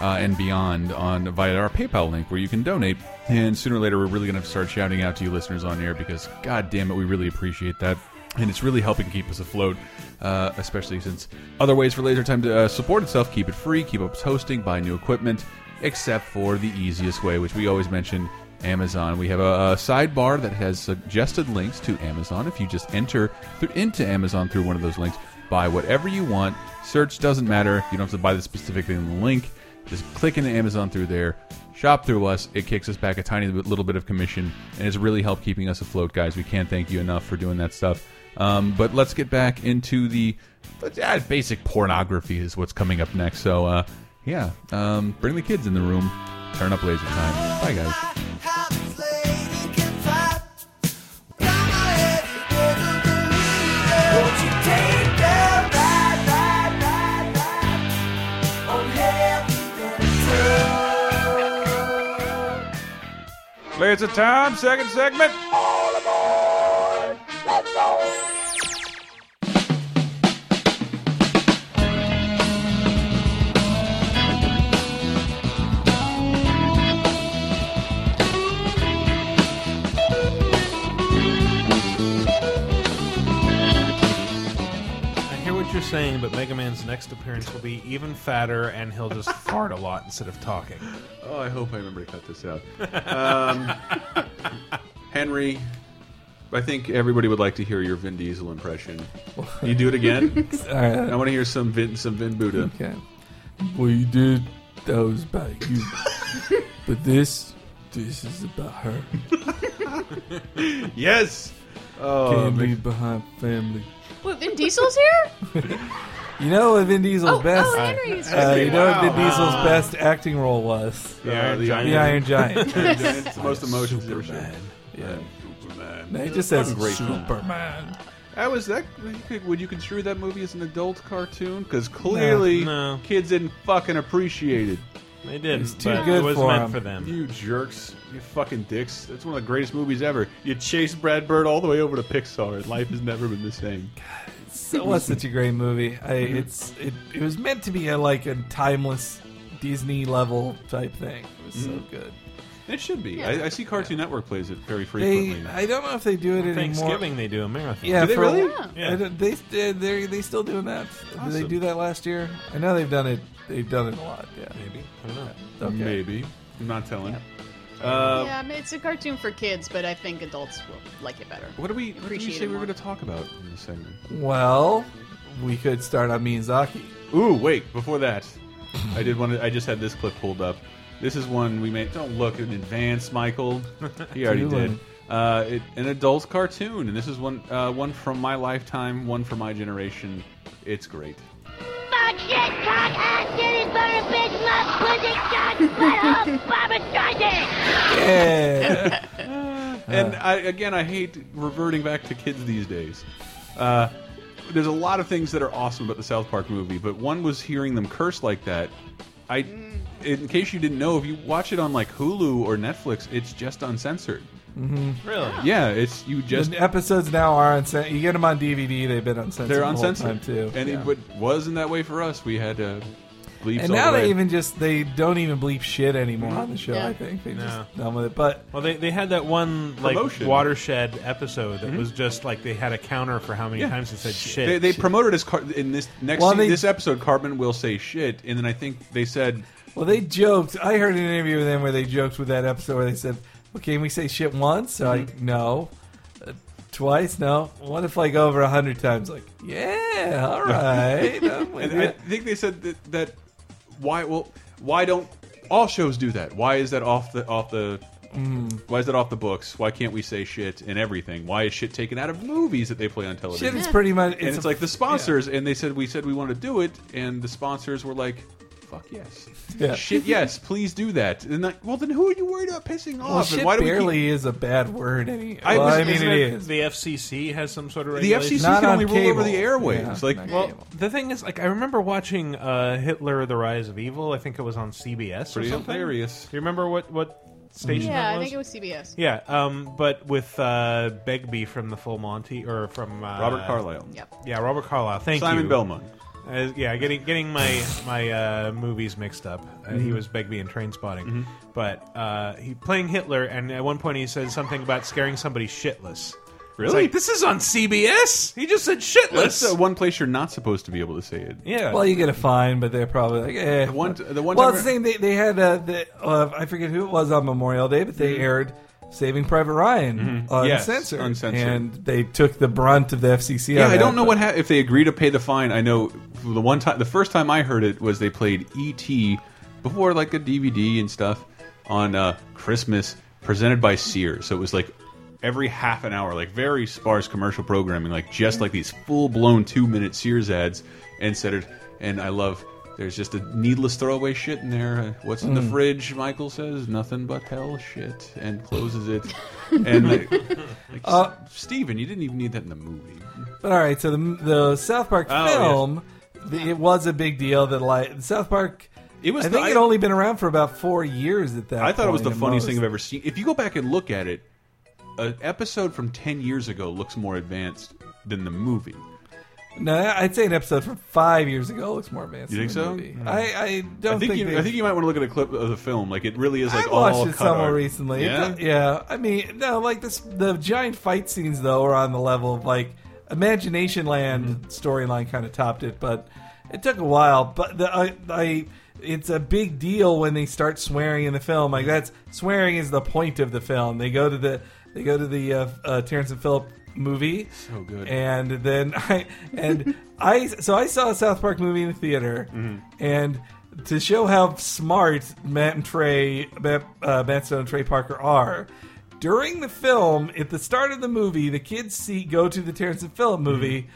uh, and beyond on via our PayPal link, where you can donate. And sooner or later, we're really going to start shouting out to you listeners on air because, god damn it, we really appreciate that and it's really helping keep us afloat. Uh, especially since other ways for Laser Time to uh, support itself, keep it free, keep up its hosting, buy new equipment, except for the easiest way, which we always mention, Amazon. We have a, a sidebar that has suggested links to Amazon. If you just enter through, into Amazon through one of those links, buy whatever you want. Search doesn't matter. You don't have to buy the specific thing in the link. Just click into Amazon through there, shop through us. It kicks us back a tiny bit- little bit of commission, and it's really helped keeping us afloat, guys. We can't thank you enough for doing that stuff. Um, but let's get back into the uh, basic pornography is what's coming up next. So uh, yeah, um, bring the kids in the room. Turn up laser time. Bye, guys. Laser time, second segment. I hear what you're saying, but Mega Man's next appearance will be even fatter, and he'll just *laughs* fart a lot instead of talking. Oh, I hope I remember to cut this out. *laughs* Um, Henry, I think everybody would like to hear your Vin Diesel impression. You do it again. *laughs* All right. I want to hear some Vin, some Vin Buddha. *laughs* Okay. We did those by you, *laughs* but this, this is about her. yes. Oh, Can't Mc- leave behind family. What, Vin Diesel's here? You know what Vin Diesel's oh, best? Henry's uh, right. you know what Vin Wow. Diesel's Ah. best acting role was? The Iron Giant. The Iron Giant. Iron Giant. It's *laughs* the most emotional Superman. Yeah. Superman. No, *laughs* he just says Great film. Superman. That was that. Would you construe that movie as an adult cartoon? Because clearly, No. kids didn't fucking appreciate it. They didn't, It's too but good it was for meant 'em. for them. You jerks! You fucking dicks! That's one of the greatest movies ever. You chased Brad Bird all the way over to Pixar. Life has never been the same. It was such a great movie. I, Mm-hmm. it's it, it was meant to be a, like a timeless Disney level type thing. It was so Mhm. good. It should be. Yeah. I, I see Cartoon Network plays it very frequently. They, I don't know if they do it anymore. Thanksgiving they do a marathon. Yeah, Do they for- really? I don't- They they they they still doing that. Did they Awesome. do that last year? I know they've done it. They've done it a lot. Yeah, maybe. I don't know. Okay. Maybe. I'm not telling. Uh, yeah, I mean, it's a cartoon for kids, but I think adults will like it better. What do we? What did you appreciate say we it were more. going to talk about in this segment? Well, we could start on Miyazaki. Ooh, wait! Before that, I did want to. I just had this clip pulled up. This is one we made. Don't look in advance, Michael. He already Do did. it. Uh, it, an adult cartoon, and this is one uh, one from my lifetime, one from my generation. It's great. Fuck shit, cock, ass, titty, butter, bitch, love, pussy, cock, butthole, *laughs* baba, *laughs* Yeah. and I, again, I hate reverting back to kids these days. Uh, there's a lot of things that are awesome about the South Park movie, but one was hearing them curse like that. I, in case you didn't know, if you watch it on like Hulu or Netflix, it's just uncensored. Mhm. Really? Yeah, it's you just the episodes now are uncensored. You get them on DVD. They've been uncensored. they're the whole uncensored time too. and Yeah. it would- wasn't that way for us. We had to. bleeps and all now the way. they even just they don't even bleep shit anymore on the show. Yeah. I think they No. just done with it. But Well, they, they had that one like Promotion. watershed episode that Mhm. was just like they had a counter for how many Yeah. times it said Mm-hmm. shit. They, they promoted as car in this next Well, se- they- this episode. Cartman will say shit, and then I think they said well, they joked. I heard an interview with them where they joked with that episode where they said, "Well, can we say shit once?" So I Mm-hmm. no, uh, twice no. What if like over a hundred times? Like yeah, *laughs* all right. I'm with And I it. think they said that, that why well why don't all shows do that? Why is that off the off the Mm. why is that off the books? Why can't we say shit in everything? Why is shit taken out of movies that they play on television? Shit is pretty much- and it's it's, a- like the sponsors and they said we said we want to do it and the sponsors were like. Fuck yes, Yeah. shit yes, please do that. And like, well, then who are you worried about pissing Well, off? shit and why do we barely keep... is a bad word. Any, I well, was- I mean, Isn't it it is. The FCC has some sort of The regulation. FCC Not can on only rule over cable. the airwaves. Yeah, Like- not Well, cable. the thing is, like, I remember watching uh, Hitler: The Rise of Evil. I think it was on CBS. Pretty or something. hilarious. Do you remember what what station? Yeah, that I was? think it was CBS. Yeah, um, but with uh, Begbie from the Full Monty or from uh, Robert Carlyle. Yep. Yeah, Robert Carlyle. Thank Simon you, Belmont. Uh, yeah, getting getting my my uh, movies mixed up. Uh, He Mm-hmm. Mhm. was Begbie in Train Spotting, but uh, he playing Hitler, and at one point he said something about scaring somebody shitless. It's Really? like, this is on CBS. He just said That's shitless. uh, one place you're not supposed to be able to say it. Yeah. Well, you get a fine, but they're probably like, eh. The one- the one well, time- it's the same. They, they had uh, the, uh, I forget who it was on Memorial Day, but they Mhm. aired Saving Private Ryan Mhm. Yes, uncensored, uncensored. and they took the brunt of the FCC. Yeah, on I don't that. know what ha if they agree to pay the fine. I know the one time, the first time I heard it was they played E.T. before like a DVD and stuff on uh, Christmas, presented by Sears. So it was like every half an hour, like very sparse commercial programming, like just like these full blown two minute Sears ads and said it. And I love. There's just a needless throwaway shit in there. Uh, What's in the Mm. fridge? Michael says nothing but hell shit, and closes it. and *laughs* like, like, Uh, Steven, you didn't even need that in the movie. But all right, so the, the South Park Oh, film, the- it was a big deal that like South Park. It was I think the- it only been around for about four years at that. I thought it was the point at funniest most. thing I've ever seen. If you go back and look at it, an episode from 10 years ago looks more advanced than the movie. No, I'd say an episode from five years ago looks more advanced. You think than the so? movie. I, I don't think. you, I they've- think you might want to look at a clip of the film. Like it really is like I all watched it cut somewhere art. recently. It Yeah, do- yeah. I mean, no, like this, the giant fight scenes though are on the level of like Imagination Land Mm-hmm. storyline kind of topped it, but it took a while. But the, I, I, it's a big deal when they start swearing in the film. Like that's swearing is the point of the film. They go to the they go to the uh, uh, Terrence and Phillip movie. So good. And then *laughs* I and I so I saw a South Park movie in the theater, and to show how smart Matt and Trey, Matt, uh, Matt Stone and Trey Parker are. During the film, at the start of the movie, the kids see go to the Terrence and Phillip movie.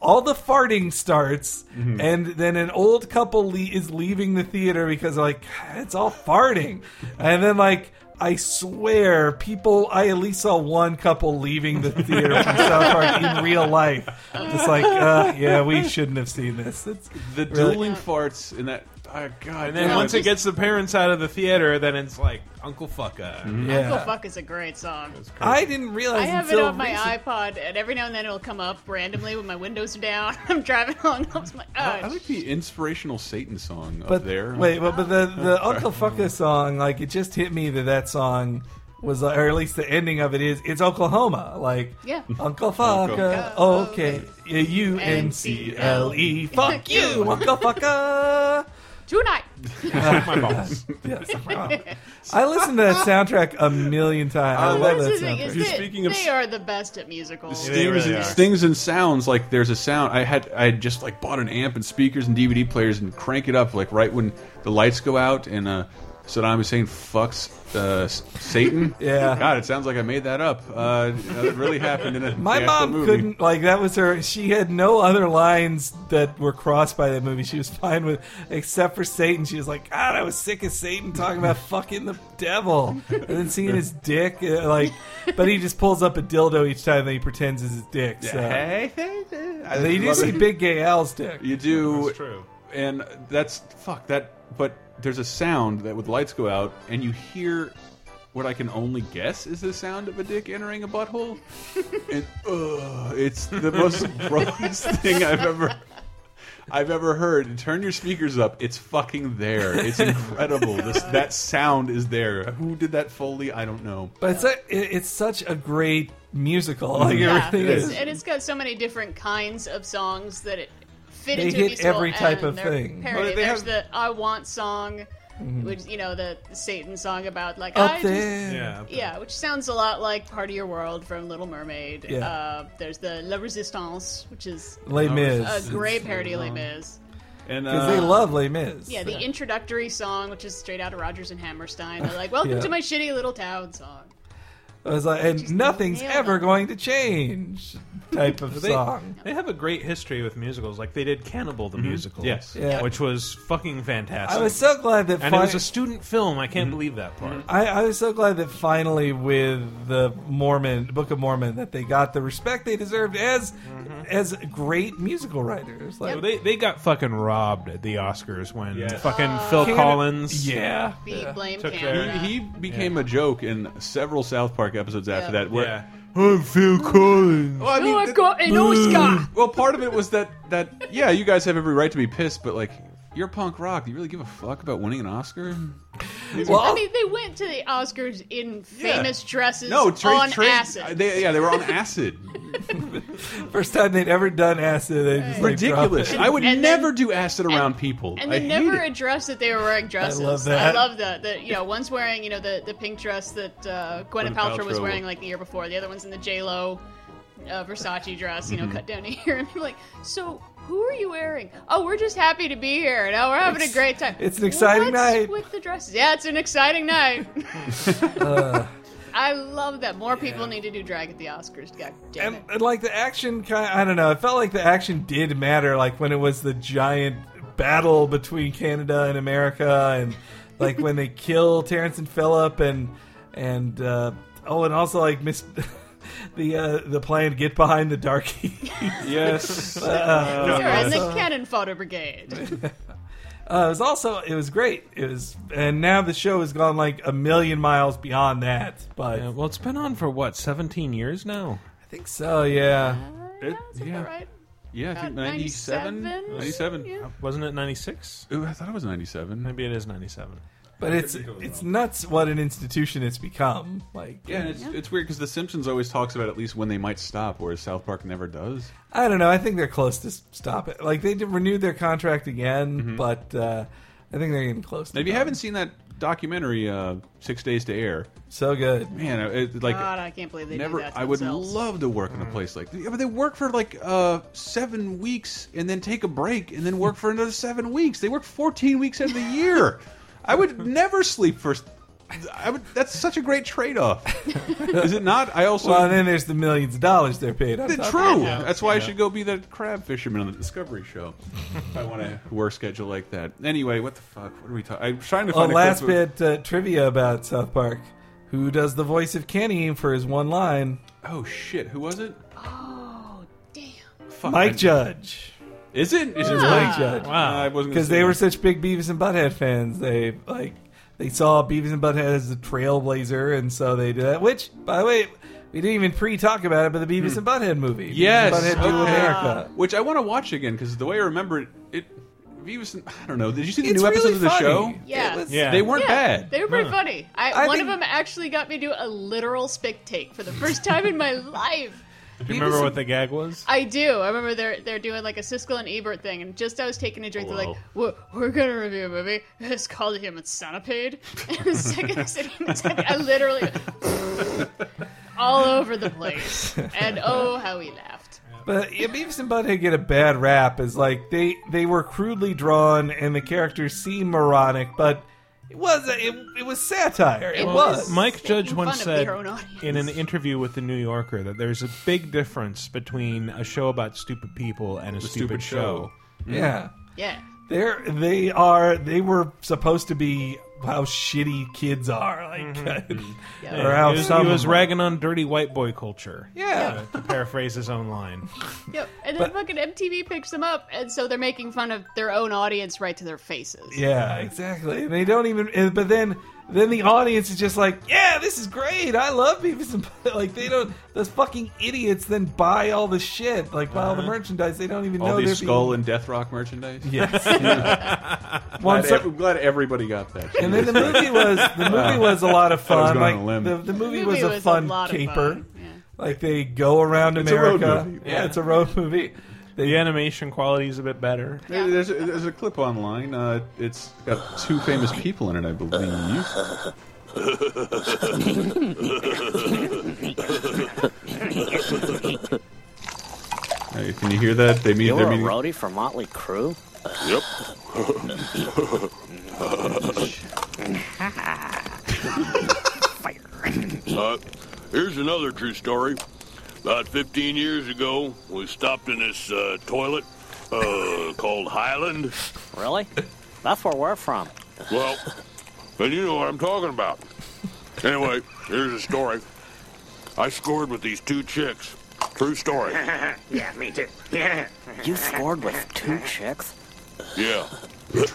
All the farting starts, Mhm. and then an old couple le- is leaving the theater because like "God, it's all farting, and then like I swear, people I at least saw one couple leaving the theater from South Park in real life, just like uh, yeah, we shouldn't have seen this. It's the really- dueling farts in that. Oh God! and then damn once it. it gets the parents out of the theater, then it's like Uncle Fucka. Mm-hmm. Uncle Fuck is a great song. I didn't realize I have it until on my recent- iPod, and every now and then it'll come up randomly when my windows are down. *laughs* I'm driving along, I'm just like, oh, I like the inspirational Satan song up but there. wait, but, but the the Sorry. Uncle Fucka song, like it just hit me that that song was, uh, or at least the ending of it is, it's Oklahoma, like Yeah. Uncle Fucka, okay, U N C L E, fuck you, *laughs* Uncle Fucka. tonight. Suck *laughs* my balls. Yeah, suck my balls. I listened to that soundtrack a million times. I love That's that the thing, soundtrack. is that they are the best at musicals. Stings, and, stings and sounds like there's a sound. I had I had just like bought an amp and speakers and DVD players and crank it up like right when the lights go out and uh, Saddam Hussein fucks uh, S- Satan. *laughs* Yeah. God, it sounds like I made that up. Uh, that really happened in a My the actual mom movie. couldn't like that was her. She had no other lines that were crossed by that movie. She was fine with except for Satan. She was like, God, I was sick of Satan talking *laughs* about fucking the devil and then seeing his dick. uh, *laughs* Like, but he just pulls up a dildo each time that he pretends is his dick. So. Hey, I They do love see it. Big Gay Al's dick. You do. That's true. And that's fuck that. But there's a sound that with lights go out, and you hear what I can only guess is the sound of a dick entering *laughs* a butthole. and ugh, it's the most gross *laughs* thing I've ever. I've ever heard. Turn your speakers up. It's fucking there. *laughs* It's incredible. this, that sound is there. Who did that Foley? I don't know. But it's, a, it- it's such a great musical. Like, yeah, everything it's- is. and it's got so many different kinds of songs that it fit They into hit a musical every type and of they're thing. parody. Well, they There's have- the "I Want" song, Mhm. which you know the Satan song about like Up I just- there. yeah, Yeah, which sounds a lot like "Part of Your World" from Little Mermaid. Yeah. Uh, there's the "La Resistance," which is Les Mis. a great It's- parody of Les Mis. And 'Cause they uh, love Les Mis. Yeah, the introductory song, which is straight out of Rogers and Hammerstein. *laughs* They're like, "Welcome Yeah. to my shitty little town" song. I was like, and nothing's ever going to change type of they, song. They have a great history with musicals. Like they did Cannibal the musical, Mm-hmm. Yes. Yeah. which was fucking fantastic. I was so Mm-hmm. glad that and fi- it was a student film. I can't believe that part. I, I was so glad that finally, with the Mormon Book of Mormon, that they got the respect they deserved as Mm-hmm. as great musical writers. Like So they they got fucking robbed at the Oscars when Yes. fucking Phil Canada- Collins, Yeah. Be blame Took Canada. their- He became a joke in several South Park episodes after Yeah. that. Where Yeah. I'm Phil Collins. I mean, I've got an Oscar. Well, part of it was that that yeah, you guys have every right to be pissed, but like you're punk rock. Do you really give a fuck about winning an Oscar? Oh. I mean, they went to the Oscars in famous dresses no, Trace, on Trace, uh, acid. They, yeah, *laughs* they were on acid. first time they'd ever done acid, they just like, dropped Ridiculous. it. I would never do acid around people. and I they hate never it. addressed that they were wearing dresses. love that. I love that. That you know, one's wearing you know the, the pink dress that uh, Gwyneth Gwyneth Paltrow was Paltrow. wearing like the year before. The other one's in the J Lo uh, Versace dress, you know, Mm-hmm. Mhm. cut down *laughs* here. And I'm like, so who are you wearing? Oh, we're just happy to be here. No, we're having a great time. it's an exciting What's night." with the dresses. Yeah, it's an exciting night. *laughs* Uh, *laughs* I love that. More people need to do drag at the Oscars. God damn it. and like the action kind I don't know. It felt like the action did matter. Like when it was the giant battle between Canada and America, and like when they kill Terrence and Phillip, and and uh, oh, and also like Miss. *laughs* The uh, the plan get behind the darky. *laughs* *laughs* Yes. Uh, Sure, and the so- cannon fodder brigade. uh, it was also it was great. It was, and now the show has gone like a million miles beyond that. But Yeah, well, it's been on for what seventeen years now. I think so. Yeah. It- yeah. Yeah, I think 97? 97? 97. Wasn't it 96? Ooh, I thought it was 97. Maybe it is 97. But it's it's nuts what an institution it's become. Like Yeah, and it's, it's weird because The Simpsons always talks about at least when they might stop, whereas South Park never does. I don't know. I think they're close to s- stop it. Like they did- renewed their contract again, Mm-hmm. but uh, I think they're getting close. Now, To if you haven't seen that documentary, uh, Six Days to Air, so good, man. It, like, God, I can't believe they do never. that to I would themselves. love to work Mm. in a place like. Yeah, but they work for like uh, seven weeks and then take a break and then work for another seven weeks. They work fourteen weeks *laughs* out of the year. I would never sleep for. I would. That's such a *laughs* great trade-off, is it not? I also. well, and then there's the millions of dollars they're paid. on Th- top of True. that. That's why I should go be the crab fisherman on the Discovery Show. if *laughs* I want a work schedule like that. Anyway, what the fuck? What are we talking? I'm trying to Oh, find. a last clip of- bit uh, trivia about South Park. Who does the voice of Kenny for his one line? Oh shit! Who was it? Oh, damn. Fuck, Mike I- Judge. Is it? Is it It's really? Mike Judge. Wow. I wasn't gonna because say they that. were such big Beavis and Butthead fans. They like they saw Beavis and Butthead as a trailblazer, and so they did that. Which, by the way, we didn't even pre-talk about it, but the Beavis and Butthead movie. Beavis and Hmm. Yes, Oh, Butthead Do okay. America. Which I want to watch again because the way I remember it, it Beavis. and- I don't know. Did you see the It's new episodes really of the funny. show? Yeah. It was- Yeah. they weren't Yeah, bad. They were pretty funny. I, I one think- of them actually got me to do a literal spick take for the first time *laughs* in my life. Do you remember what the gag was? I do. I remember they're they're doing like a Siskel and Ebert thing, and just I was taking a drink. They're like, "We're, we're gonna review a movie. It's called The Human Centipede." *laughs* And the second I said Human Centipede, I literally *laughs* all over the place, and oh how we laughed. But yeah, Beavis and Butthead get a bad rap as like they they were crudely drawn and the characters seem moronic, but It was it, it was satire. It, Well, was. Mike Judge making once fun of said their own in an interview with the New Yorker that there's a big difference between a show about stupid people and a The stupid, stupid show. show. Yeah. Yeah. They're they are they were supposed to be how shitty kids are like Yeah. *laughs* or how he was, some he was of 'em ragging on dirty white boy culture. Yeah. uh, to paraphrase his own line. Yep. And then fucking MTV picks them up, and so they're making fun of their own audience right to their faces. Yeah, exactly. And they don't even. and- But then, then the audience is just like, "Yeah, this is great. I love Beavis and Butt-" *laughs* like they don't. Those fucking idiots then buy all the shit, like buy all the Uh-huh. merchandise. They don't even All know these they're skull being- and death rock merchandise. *laughs* Yes. glad, Once I- ev- glad everybody got *laughs* that. And then the *laughs* movie was the movie was a lot of I was fun. going on a Like limb. the, the movie The was movie a was a fun lot of caper. fun, Like they go around It's a road America. movie. Yeah, Yeah. it's a road movie. The animation quality is a bit better. There- There's, a, there's a clip online. Uh, it's got two famous people in it, I believe. Hey, can you hear that? They meet. You're they're a meeting- roadie for Motley Crue? Yep. Uh, here's another true story. About 15 years ago, we stopped in this uh, toilet uh, called Highland. Really? That's where we're from. Well, then you know what I'm talking about. Anyway, here's a story. I scored with these two chicks. True story. yeah, me too. you scored with two chicks? Yeah. Well,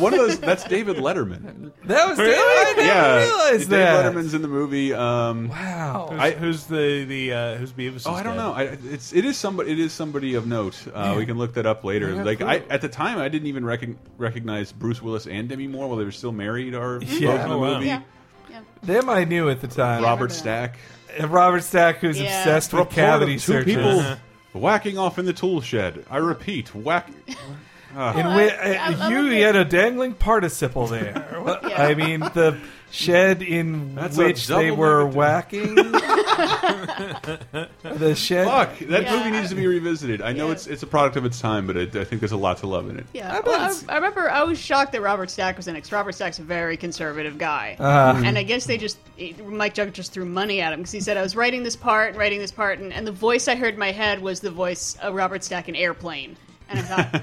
one of those. That's David Letterman. That was Really? I didn't yeah. realize David that. Letterman's in the movie. Um, wow. Who's, who's the the uh, who's Beavis? Oh, I don't know. I, it's it is somebody it is somebody of note. Uh, Yeah. we can look that up I later. got a Like clue. I at the time, I didn't even recog recognize Bruce Willis and Demi Moore while they were still married or both in Yeah. the Oh, wow. movie. Yeah. Them I knew at the time. Robert Stack. And Robert Stack, who's Yeah. obsessed with Report of cavity two searches. people whacking off in the tool shed. I repeat, whack. Uh, And we, uh, you had a dangling participle there. What- I mean, the shed in That's a which they double were negative. whacking. *laughs* the shed. *laughs* Fuck, that movie needs to be revisited. I know it's it's a product of its time, but I, I think there's a lot to love in it. Yeah, well, I, I remember I was shocked that Robert Stack was in it. 'cause Robert Stack's a very conservative guy, Uh-huh. and I guess they just it- Mike Jug just threw money at him because he said I was writing this part, and writing this part, and, and the voice I heard in my head was the voice of Robert Stack in Airplane, and I thought,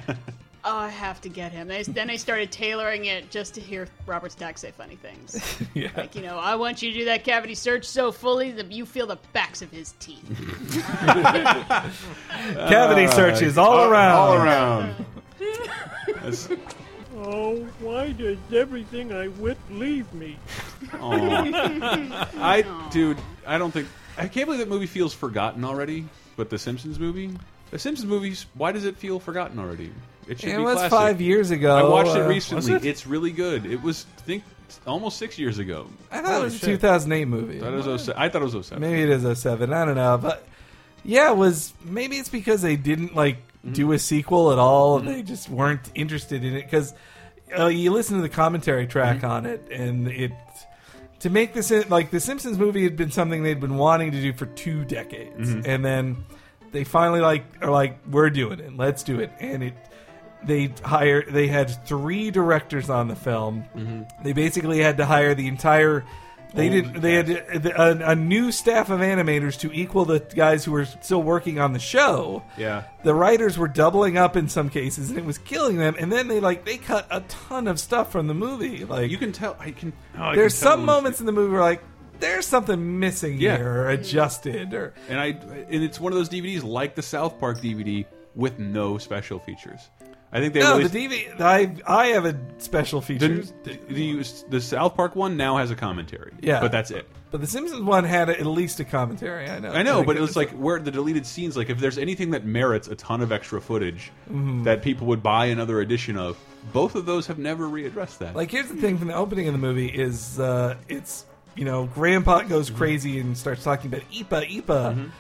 oh, I have to get him. Then I- Then I started tailoring it just to hear Robert Stack say funny things, Yeah. like you know, I want you to do that cavity search so fully that you feel the backs of his teeth. Cavity searches all around. Uh, All around. That's- Oh, why does everything I whip leave me? Aw. I dude, I don't think I can't believe that movie feels forgotten already. But the Simpsons movie, the Simpsons movies, why does it feel forgotten already? It should It be was classic. five years ago. I watched it Uh, was recently. it? It's really good. It was I think almost six years ago. I thought it was a 2008 movie. That is 07. I thought it was 07. Maybe it is 07. I don't know. But yeah, it was maybe it's because they didn't like do a sequel at all. They just weren't interested in it because uh, you listen to the commentary track on it, and it to make this like the Simpsons movie had been something they'd been wanting to do for two decades, Mhm. and then they finally like are like we're doing it, let's do it, and it. They hire. They had three directors on the film. They basically had to hire the entire they Old did. They had a, a, a new staff of animators to equal the guys who were still working on the show. Yeah. The writers were doubling up in some cases, and it was killing them. And then they like they cut a ton of stuff from the movie. Like you can tell. Oh, I can. there's some moments in the movie where like there's something missing Yeah. here or adjusted or and I and it's one of those DVDs like the South Park DVD with no special features. I think they no. released The DV. I I have a special feature. the, the, the South Park one now has a commentary. Yeah. but that's it. but the Simpsons one had at least a commentary. I know. I know, Like, but it was like where the deleted scenes. Like, if there's anything that merits a ton of extra footage Mhm. that people would buy another edition of, both of those have never readdressed that. Like here's the thing from the opening of the movie is uh, it's you know Grandpa goes crazy and starts talking about Ipa Ipa.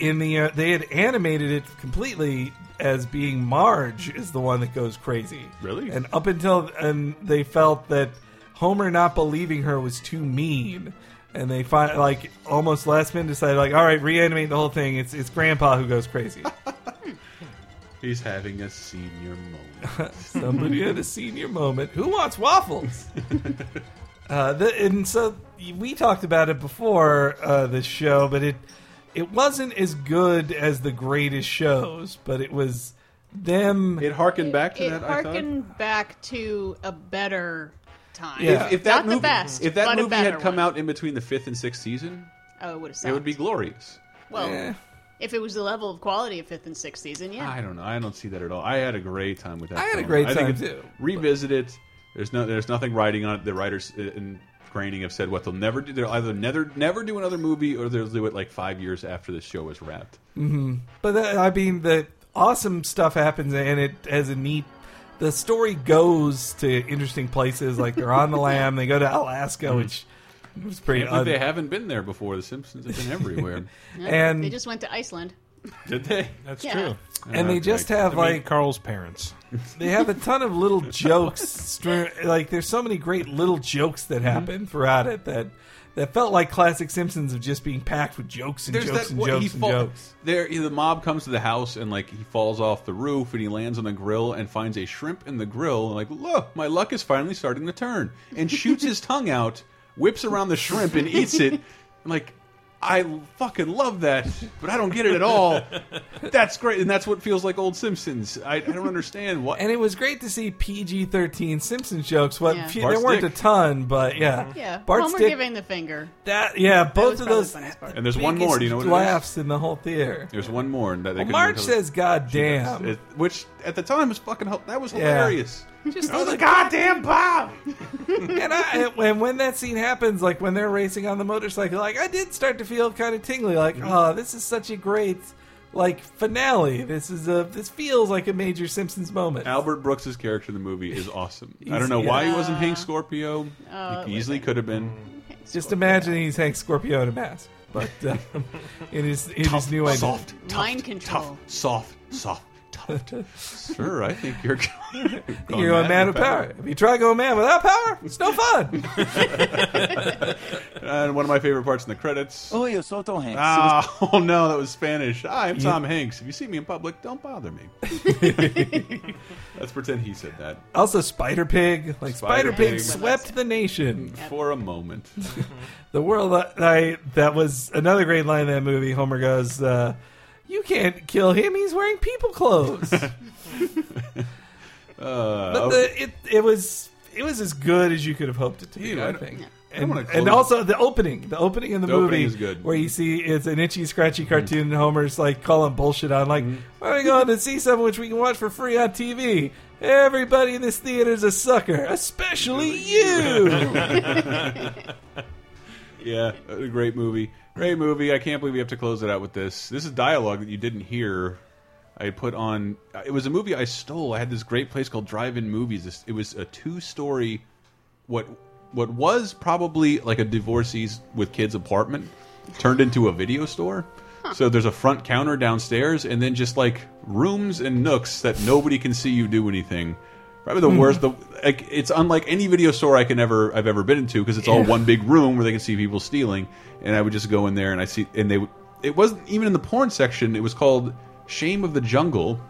In the uh, they had animated it completely as being Marge is the one that goes crazy. Really? And up until and they felt that Homer not believing her was too mean. And they find like almost last minute decided like all right reanimate the whole thing. It's it's Grandpa who goes crazy. He's having a senior moment. Somebody had a senior moment. Who wants waffles? uh, the, and so we talked about it before uh, the show, but it it wasn't as good as the greatest shows, but it was them. *laughs* It harkened back to It that. I thought. harkened back to a better time. Yeah. If, if that Not movie, the best, if that but a movie had better come one. out in between the fifth and sixth season, oh, it would have it sounded. would be glorious. well, Eh, if it was the level of quality of fifth and sixth season, yeah. I don't know. I don't see that at all. I had a great time with that. I had a film. great time, if- too, Revisit it. There's no. There's nothing writing on it. The writers uh, and Graining have said what they'll never do. They'll either never never do another movie, or they'll do it like five years after the show is wrapped. hmm But that, I mean, the awesome stuff happens, and it has a neat. The story goes to interesting places, like they're *laughs* on the lamb. They go to Alaska, which was pretty. Mm-hmm. I think un- they haven't been there before. The Simpsons have *laughs* been everywhere. No, and- they just went to Iceland. Did they? That's Yeah. true. And they just have, to meet like- Carl's parents. they have a ton of little jokes. strewn- like there's so many great little jokes Mm-hmm. that happen throughout it that that felt like classic Simpsons of just being packed with jokes and jokes and one- he jokes and fall- jokes. There, the mob comes to the house and like he falls off the roof and he lands on the grill and finds a shrimp in the grill and like, look, my luck is finally starting to turn and shoots his tongue out, whips around the shrimp and eats it. *laughs* I'm like, I fucking love that, but I don't get it at all. That's great, and that's what feels like old Simpsons. I, I don't understand what. And it was great to see PG-13 Simpsons jokes. What Yeah. few- Bart there weren't a Stick. Mm-hmm. ton, but yeah, Yeah, Bart Homer Stick- giving the finger. That yeah, both was of probably those. the funniest part. And there's one more. Do you know what it is? laughs in the whole theater? There's one more that they Well, couldn't Marge recover. says, "God damn." It- which at the time was fucking hel- that was Yeah. hilarious. *laughs* Just oh, little- the goddamn bomb! *laughs* and I and when- when that scene happens, like when they're racing on the motorcycle, like I did start to feel kind of tingly. Like, Mm-hmm. oh, this is such a great like finale. This is a this feels like a major Simpsons moment. Albert Brooks' character in the movie is awesome. I He's- don't know yeah. why he wasn't Hank Scorpio. Oh, he easily could have been. Just imagine he's Hank Scorpio in a mask, but *laughs* um, in his in his new idea. soft, Mind control. soft, soft, soft. *laughs* Sir, I think you're *laughs* going You're going mad with power. If you try going mad without power, it's no *laughs* fun. and one of my favorite parts in the credits. Oh, you Soto Hanks. Ah, oh no, that was Spanish. Hi, I'm You- Tom Hanks. If you see me in public, don't *laughs* bother me. Let's pretend he said that Also, Spider Pig, like Spider, Spider Pig, Pig. swept the nation. for a moment. The world that I, that was another great line in that movie. Homer goes, uh, "You can't kill him. He's wearing people *laughs* clothes." Uh, but okay. the, it it was it was as good as you could have hoped it to be. You know, I I- think. I don't And, wanna and close- also the opening, the opening in the, The movie opening is good. Mm-hmm. where you see it's an itchy, scratchy cartoon, and Homer's like calling bullshit on, like, "Why are we going to see something which we can watch for free on TV? Everybody in this theater's a sucker, especially *laughs* you." yeah, a great movie. Great movie. I can't believe we have to close it out with this. This is dialogue that you didn't hear. I had put on. It was a movie I stole. I had this great place called Drive-In Movies. This- It was a two-story, what what was probably like a divorcee's with kids apartment, turned into a video store. So there's a front counter downstairs, and then just like rooms and nooks that nobody can see you do anything. Probably the worst. The like, it's unlike any video store I can ever I've ever been into because it's all Yeah. one big room where they can see people stealing. And I would just go in there and I see and they would- it wasn't even in the porn section. It was called Shame of the Jungle,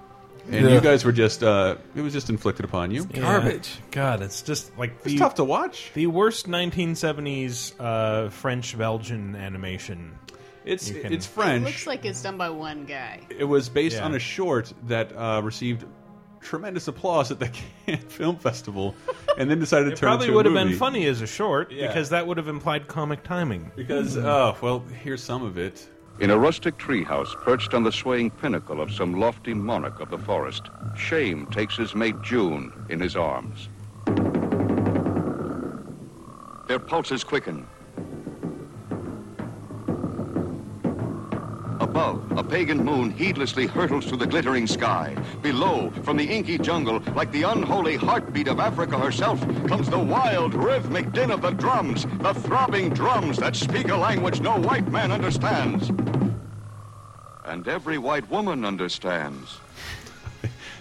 and Yeah. you guys were just uh, it was just inflicted upon you. Garbage. God, it's just like It's tough to watch. The worst 1970s uh, French Belgian animation. It's you can- it's It French. looks like it's done by one guy. It was based Yeah. on a short that uh, received tremendous applause at the *laughs* Cannes Film Festival, and then decided to It turn probably into a would have movie. been funny as a short Yeah. because that would have implied comic timing. Because oh well, here's some of it. In a rustic treehouse perched on the swaying pinnacle of some lofty monarch of the forest, Shame takes his mate June in his arms. Their pulses quicken. Above, a pagan moon heedlessly hurtles through the glittering sky. Below, from the inky jungle, like the unholy heartbeat of Africa herself, comes the wild, rhythmic din of the drums, the throbbing drums that speak a language no white man understands. And every white woman understands.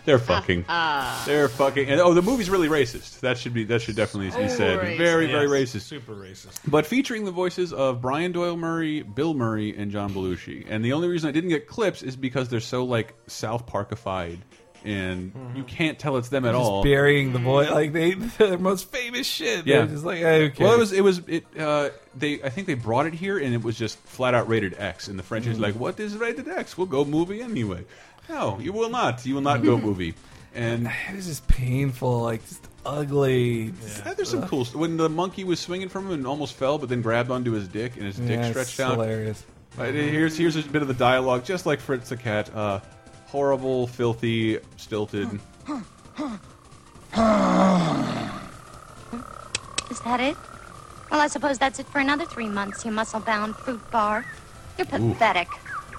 They're fucking. Ah. They're fucking. And, oh, the movie's really racist. That should be. That should definitely be said. Very, very Yes, racist. Super racist. But featuring the voices of Brian Doyle Murray, Bill Murray, and John Belushi. And the only reason I didn't get clips is because they're so like South Parkified and Mm-hmm. you can't tell it's them at Just all. burying the voice like they *laughs* their most famous shit. They're Yeah, just like "Hey, okay. Well, it was it was it. Uh, they I think they brought it here and it was just flat out rated X. And the French is Mm. like, "What is rated X? We'll go movie anyway." No, you will not. You will not *laughs* go movie. And *sighs* it was just painful, like just ugly. Yeah, there's some cool. St when the monkey was swinging from him and almost fell, but then grabbed onto his dick and his Yeah, dick it's stretched out. hilarious. But uh, here's here's a bit of the dialogue, just like Fritz the cat. Uh, horrible, filthy, stilted. Is that it? Well, I suppose that's it for another three months, you muscle bound fruit bar. You're Ooh. pathetic.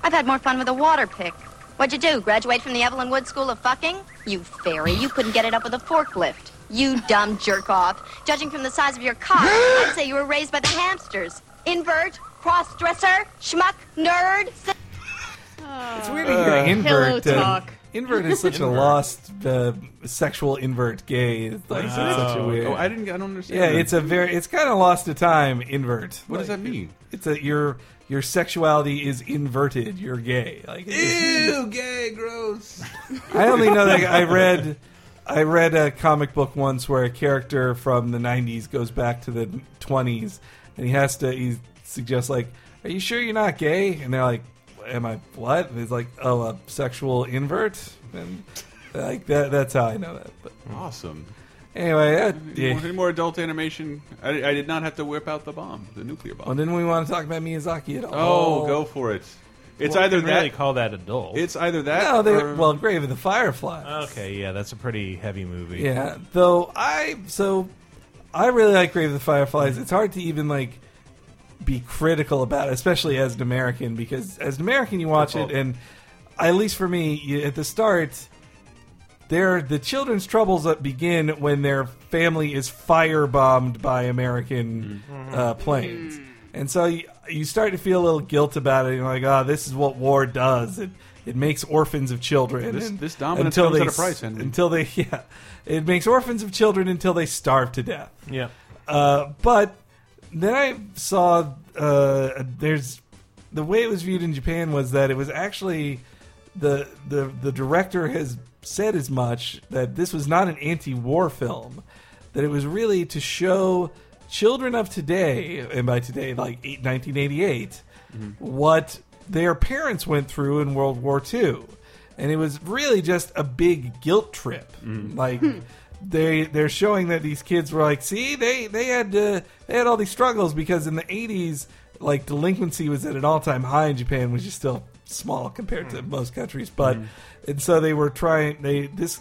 I've had more fun with a water pick. What'd you do? Graduate from the Evelyn Wood School of Fucking? You fairy, you couldn't get it up with a forklift. You dumb jerk off. Judging from the size of your cock, I'd say you were raised by the hamsters. Invert, cross dresser, schmuck, nerd. It's weird to hear invert. uh, invert is such Invert. a lost uh, sexual invert gay. It's What like is that? such a weird. Oh, I didn't. I don't understand. Yeah, that. it's a very. It's kind of lost to time. Invert. What does Like, that mean? It's a your your sexuality is inverted. You're gay. Like Ew, gay, *laughs* gross. I only know that I read. I read a comic book once where a character from the '90s goes back to the '20s, and he has to. He suggests like, "Are you sure you're not gay?" And they're like, "Am I what?" And he's like, "Oh, a sexual invert." And like that. That's how I know that. But Awesome. Anyway, that, Any yeah. more, any more adult animation? I, I did not have to whip out the bomb, the nuclear bomb. Well, didn't we want to talk about Miyazaki at all? Oh, go for it. It's Well, either you can really that- call that adult. It's either that. No, they or- well, Grave of the Fireflies. Okay, yeah, that's a pretty heavy movie. Yeah, though I so I really like Grave of the Fireflies. It's hard to even like be critical about, it, especially as an American, because as an American you watch it, Difficult. and at least for me, you, at the start, there the children's troubles that begin when their family is firebombed by American uh, planes, and so you, you start to feel a little guilt about it. You're like, oh, this is what war does. It it makes orphans of children. This- and this dominance comes at a price, Henry. until they *laughs* yeah, it makes orphans of children until they starve to death. Yeah. Uh, but then I saw uh, there's the way it was viewed in Japan was that it was actually the the the director has said as much that this was not an anti-war film, that it was really to show children of today and by today like eight, 1988 Mhm. what their parents went through in World War II. And it was really just a big guilt trip. Like they they're showing that these kids were like, see, they they had uh, they had all these struggles because in the 80s like delinquency was at an all-time high in Japan, which is still small compared to most countries, but and so they were trying they this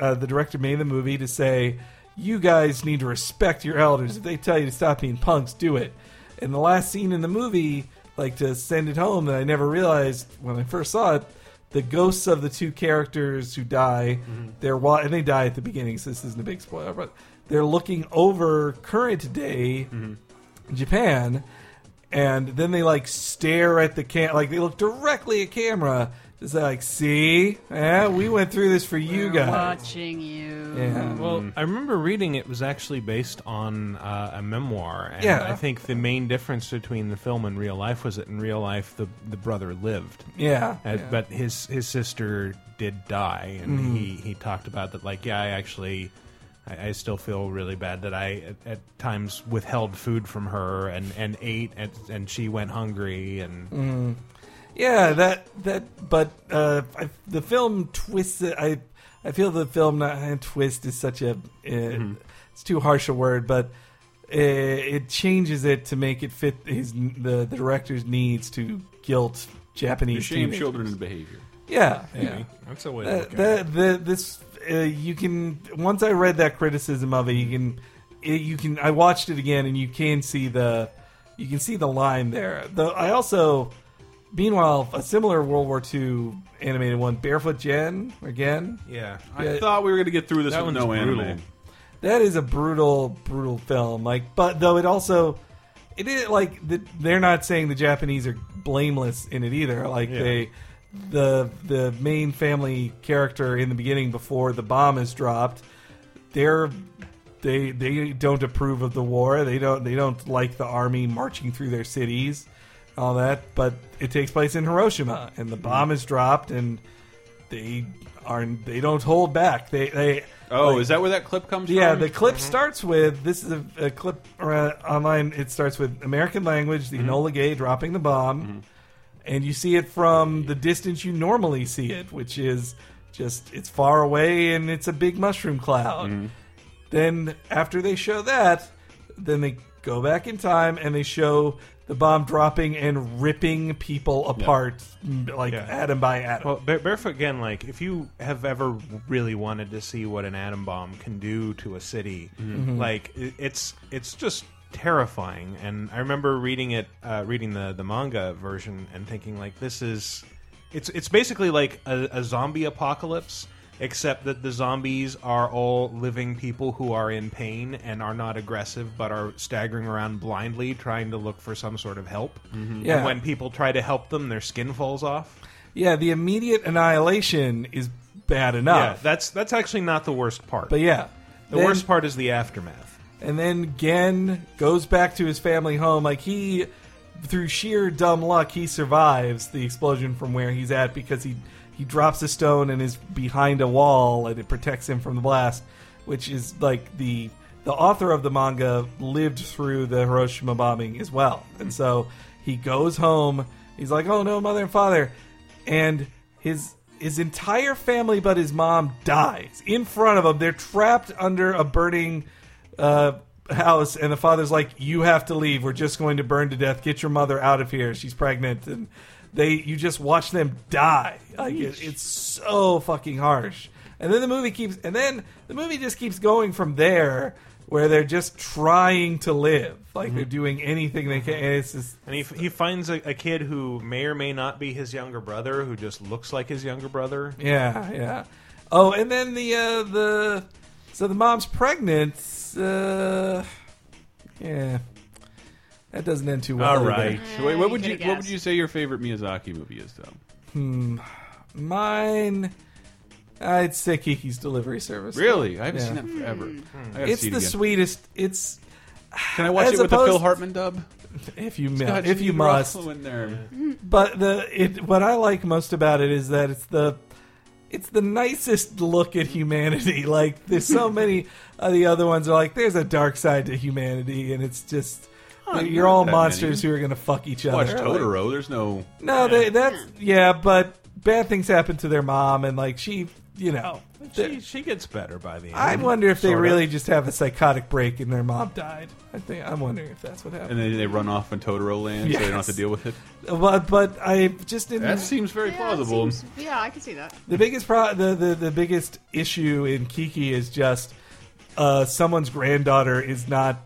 uh, the director made the movie to say you guys need to respect your elders. If they tell you to stop being punks, do it. And the last scene in the movie, like to send it home, that I never realized when I first saw it, the ghosts of the two characters who die, Mm-hmm. they're wa- and they die at the beginning, so this isn't a big spoiler, but they're looking over current day Mm-hmm. Japan, and then they like stare at the cam, like they look directly at camera. Just like, see, eh, we went through this for you guys. Watching you. Well, I remember reading it was actually based on uh, a memoir, and Yeah. I think the main difference between the film and real life was that in real life the the brother lived, Yeah. Uh, Yeah. but his his sister did die, and Mhm. he he talked about that like yeah, I actually. I I still feel really bad that I, at, at times, withheld food from her and, and ate, and, and she went hungry. And Mm. Yeah, that that. But uh, I, the film twists. It, I I feel the film not, twist is such a. uh Mm-hmm. It's too harsh a word, but it, it changes it to make it fit his the, the director's needs to guilt Japanese shame teenagers. children into behavior. Yeah, Maybe. yeah. That's a way to That- look at Uh, that- the- this uh, you can once I read that criticism of it, you can it, you can I watched it again and you can see the you can see the line there. Though I also meanwhile a similar World War II animated one, Barefoot Jen again. Yeah. I thought we were going to get through this That with one's no anime. brutal. That is a brutal, brutal film. Like, but though it also, it is like the, they're not saying the Japanese are blameless in it either. Like Yeah. they, the the main family character in the beginning before the bomb is dropped, they're they they don't approve of the war. They don't they don't like the army marching through their cities, all that. But it takes place in Hiroshima, and the bomb is dropped, and they are they don't hold back. They they Oh, is that where that clip comes yeah, from? the clip Mm-hmm. Mhm. starts with this is a, a clip uh, online. It starts with American language, Mm-hmm. the Enola Gay dropping the bomb, and you see it from the distance you normally see it, which is just it's far away and it's a big mushroom cloud. Mm-hmm. Then after they show that, then they go back in time and they show the bomb dropping and ripping people apart m- like atom by atom. Well, Ba- Barefoot again, like if you have ever really wanted to see what an atom bomb can do to a city, Mhm. like i- it's it's just terrifying. And I remember reading it, uh, reading the the manga version, and thinking like this is, it's it's basically like a, a zombie apocalypse. Except that the zombies are all living people who are in pain and are not aggressive, but are staggering around blindly, trying to look for some sort of help. Yeah. And when people try to help them, their skin falls off. Yeah, the immediate annihilation is bad enough. Yeah, that's that's actually not the worst part. Oh. But yeah. the Then- worst part is the aftermath. And then Gen goes back to his family home. Like he, through sheer dumb luck, he survives the explosion from where he's at because he he drops a stone and is behind a wall and it protects him from the blast, which is like the the author of the manga lived through the Hiroshima bombing as well. And so he goes home. He's like, "Oh no, mother and father." and his his entire family but his mom dies in front of him they're trapped under a burning uh, house and the father's like you have to leave we're just going to burn to death get your mother out of here she's pregnant and they you just watch them die like it, it's so fucking harsh and then the movie keeps and then the movie just keeps going from there where they're just trying to live like Mm-hmm. they're doing anything they can and it's just And he, f- he finds a, a kid who may or may not be his younger brother, who just looks like his younger brother. Yeah, yeah. Oh, and then the uh, the so the mom's pregnant. Uh, yeah, that doesn't end too well. All either. right. Wait, what would you what would you say your favorite Miyazaki movie is though? Hmm. Mine. I'd say Kiki's Delivery Service. Really? I haven't seen that in forever. Hmm. I gotta It's see it the again. sweetest. It's. Can I watch as it with the Phil opposed- Hartman dub? If you It's mu- got if you Steve must. Ruffalo in there. But the it what I like most about it is that it's the it's the nicest look at humanity. *laughs* Like there's *laughs* so many of the other ones are like there's a dark side to humanity, and it's just Oh, you're not all that monsters many. who are gonna fuck each other. Watch Like, Totoro. There's no no, they, that's yeah, but bad things happen to their mom, and like she, you Oh, know. She, she gets better by the end. I wonder if they sorta. really just have a psychotic break and their mom died. I think I'm wondering if that's what happened. and then they run off in Totoro land, so they don't have to Yes. deal with it. But but I just didn't. That seems very Yeah, it plausible. seems- yeah, I can see that. The biggest pro- the, the the biggest issue in Kiki is just uh, someone's granddaughter is not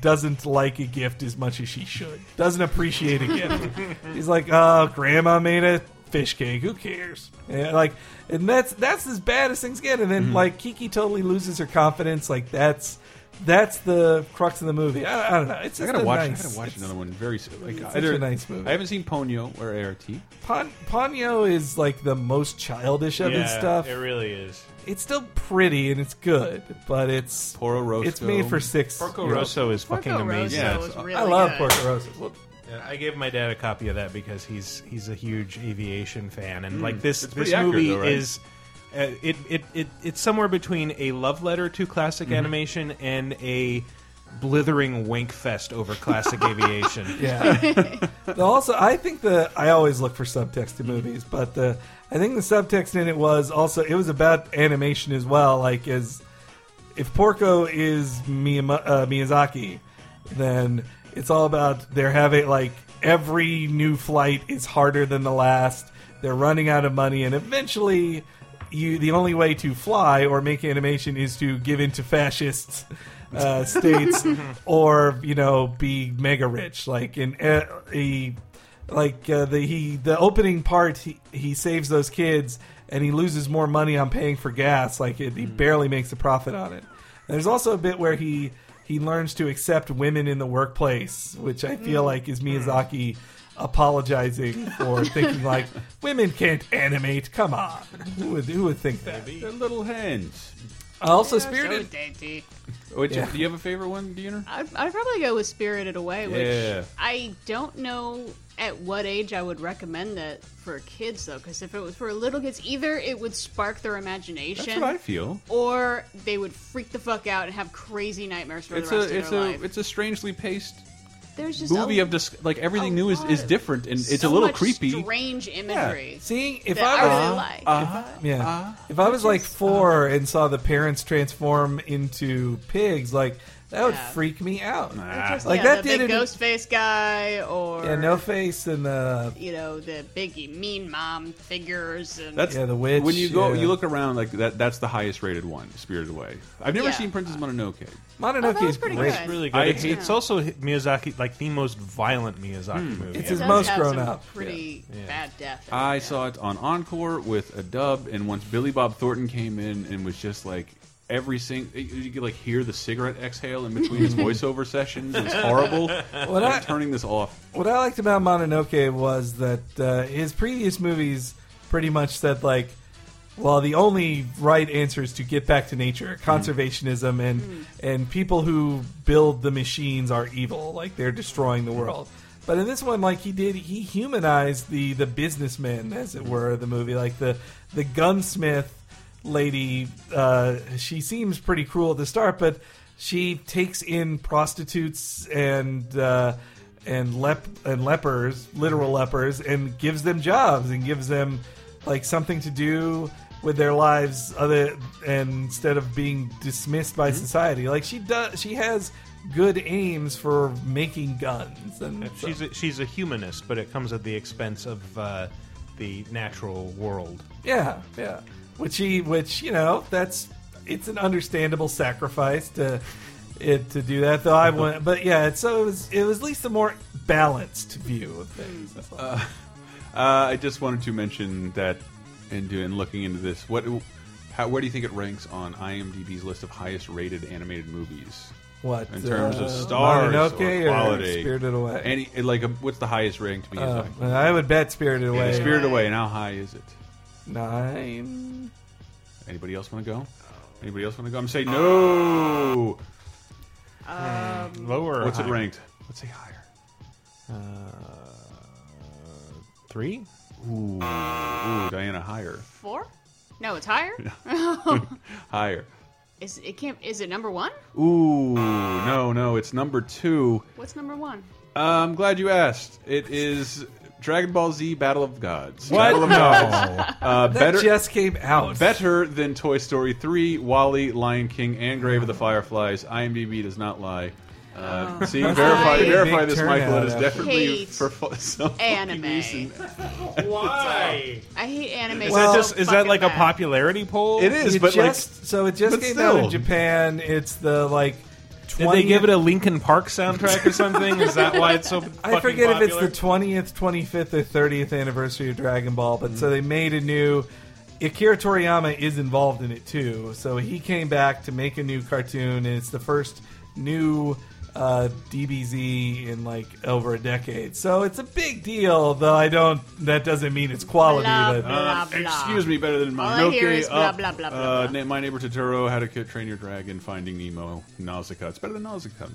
doesn't like a gift as much as she should. Doesn't appreciate a gift. *laughs* He's like, oh, grandma made a fish cake. Who cares? Yeah, like, and that's that's as bad as things get. And Mm-hmm. then like Kiki totally loses her confidence. Like that's that's the crux of the movie. I, I don't know. It's I just gotta a watch. nice- I gotta watch it's- another one very soon. Like, it's such either- a nice movie. I haven't seen Ponyo or ART. Pon- Ponyo is like the most childish of his Yeah, stuff. it really is. It's still pretty and it's good, but it's Poro Rosso. It's made for six. Porco year olds. Rosso is fucking amazing. I love Porco Rosso. Whoop. Yeah, I gave my dad a copy of that because he's he's a huge aviation fan, and Mm. like this It's this pretty accurate, movie though, right? is. Uh, it, it, it it's somewhere between a love letter to classic Mhm. animation and a blithering wink fest *laughs* over classic aviation. Yeah. *laughs* The- also, I think the I always look for subtext to movies, but the I think the subtext in it was also it was about animation as well. Like as if Porco is Miyama, uh, Miyazaki, then it's all about they're having like every new flight is harder than the last. They're running out of money, and eventually, you the only way to fly or make animation is to give in to fascists. Uh, states or you know be mega rich like in uh, he like uh, the he the opening part he, he saves those kids and he loses more money on paying for gas like it, he barely makes a profit on it And there's also a bit where he he learns to accept women in the workplace which i feel Mm. like is miyazaki apologizing for thinking like women can't animate come on who would who would think that They're little hands. Also, They're Spirited. So dainty. Which, Yeah. Do you have Oh, a favorite one, Diener? I'd, I'd probably go with Spirited Away, which Yeah. I don't know at what age I would recommend that for kids, though, because if it was for little kids, either it would spark their imagination. That's what I feel. Or they would freak the fuck out and have crazy nightmares for It's the rest a it's of a their life. it's a strangely paced There's just movie a, of dis- like everything a new is, lot is of- different and it's so a little much creepy. Strange imagery. Seeing if that I was really like. uh-huh. yeah, Uh-huh. if I was like four and saw the parents transform into pigs, like that would Yeah. freak me out. Just, Like yeah, that the did it. big ghost face guy, or Yeah, no face and uh, the you know the big mean mom figures, and That's Yeah, the witch, When you go, yeah. you look around like that. That's the highest rated one, Spirited Away. I've never Yeah. Uh, seen Princess Mononoke. Mononoke Oh, that was is pretty great. good. really I good. It's, hate- it's also Miyazaki, like the most violent Miyazaki movie. ever. It's his does most have grown some up. Pretty Yeah. bad death. I saw it on Encore with a dub, and once Billy Bob Thornton came in and was just like every sing you- you could like hear the cigarette exhale in between *laughs* his voiceover sessions. It was horrible. What I'm I- turning this off. What I liked about Mononoke was that uh, his previous movies pretty much said like, well, the only right answer is to get back to nature, conservationism, and and people who build the machines are evil, like they're destroying the world. But in this one, like he did, he humanized the the businessman, as it were, of the movie, like the the gunsmith lady uh, she seems pretty cruel at the start but she takes in prostitutes and uh, and lep and lepers literal lepers and gives them jobs and gives them like something to do with their lives other and instead of being dismissed by society like she does she has good aims for making guns and She's a, she's a humanist, but it comes at the expense of uh, the natural world. Yeah, yeah. Which he, which you know, that's it's an understandable sacrifice to it to do that. Though I went, but yeah. It's, so it was it was at least a more balanced view of things. That's all. Uh, I just wanted to mention that and do and looking into this. What, how, where do you think it ranks on IMDb's list of highest rated animated movies? What, in terms uh, of stars Mononoke or or quality? Spirited Away? Uh, Any like a, what's the highest rating to be? Uh, and I would bet Spirited Away Spirited Away. And how high is it? nine. Anybody else want to go? Anybody else want to go? I'm saying no. Lower. Uh, or What's it higher? ranked? Let's say higher. Three. Ooh, ooh, Diana, higher, *laughs* Four? No, it's higher. higher. *laughs* is it can't? Is it number one? Ooh, no, no, it's number two. What's number one? Uh, I'm glad you asked. It is Dragon Ball Z Battle of Gods. What? Battle of No. Gods. Uh, *laughs* That better, just came out. better than Toy Story 3, Wally, Lion King, and Grave of the Fireflies. IMDb does not lie. Uh, See, verify, Big verify this, Oh. turnout Michael. It is after- definitely Hate for fu- *laughs* some fucking anime. reason. *laughs* Why? I hate anime. Is Well- that just is that like a popular? popularity poll? It is, It but like, just so it just but came out still. in Japan. It's the like. 20th, Did they give it a Linkin Park *laughs* soundtrack or something? Is that why it's so? I forget if it's the twentieth, twenty fifth, or thirtieth anniversary of Dragon Ball, but so they made a new. Akira Toriyama is involved in it too, so he came back to make a new cartoon, and it's the first new uh, DBZ in like over a decade. So it's a big deal, though I don't. That doesn't mean it's quality. Love but Blah, Uh, blah. Excuse me, better than All Mononoke. I hear is blah, up, blah, blah, blah, uh, blah. Na- My Neighbor Totoro, How to Ki- Train Your Dragon, Finding Nemo, Nausicaa. It's better than Nausicaa.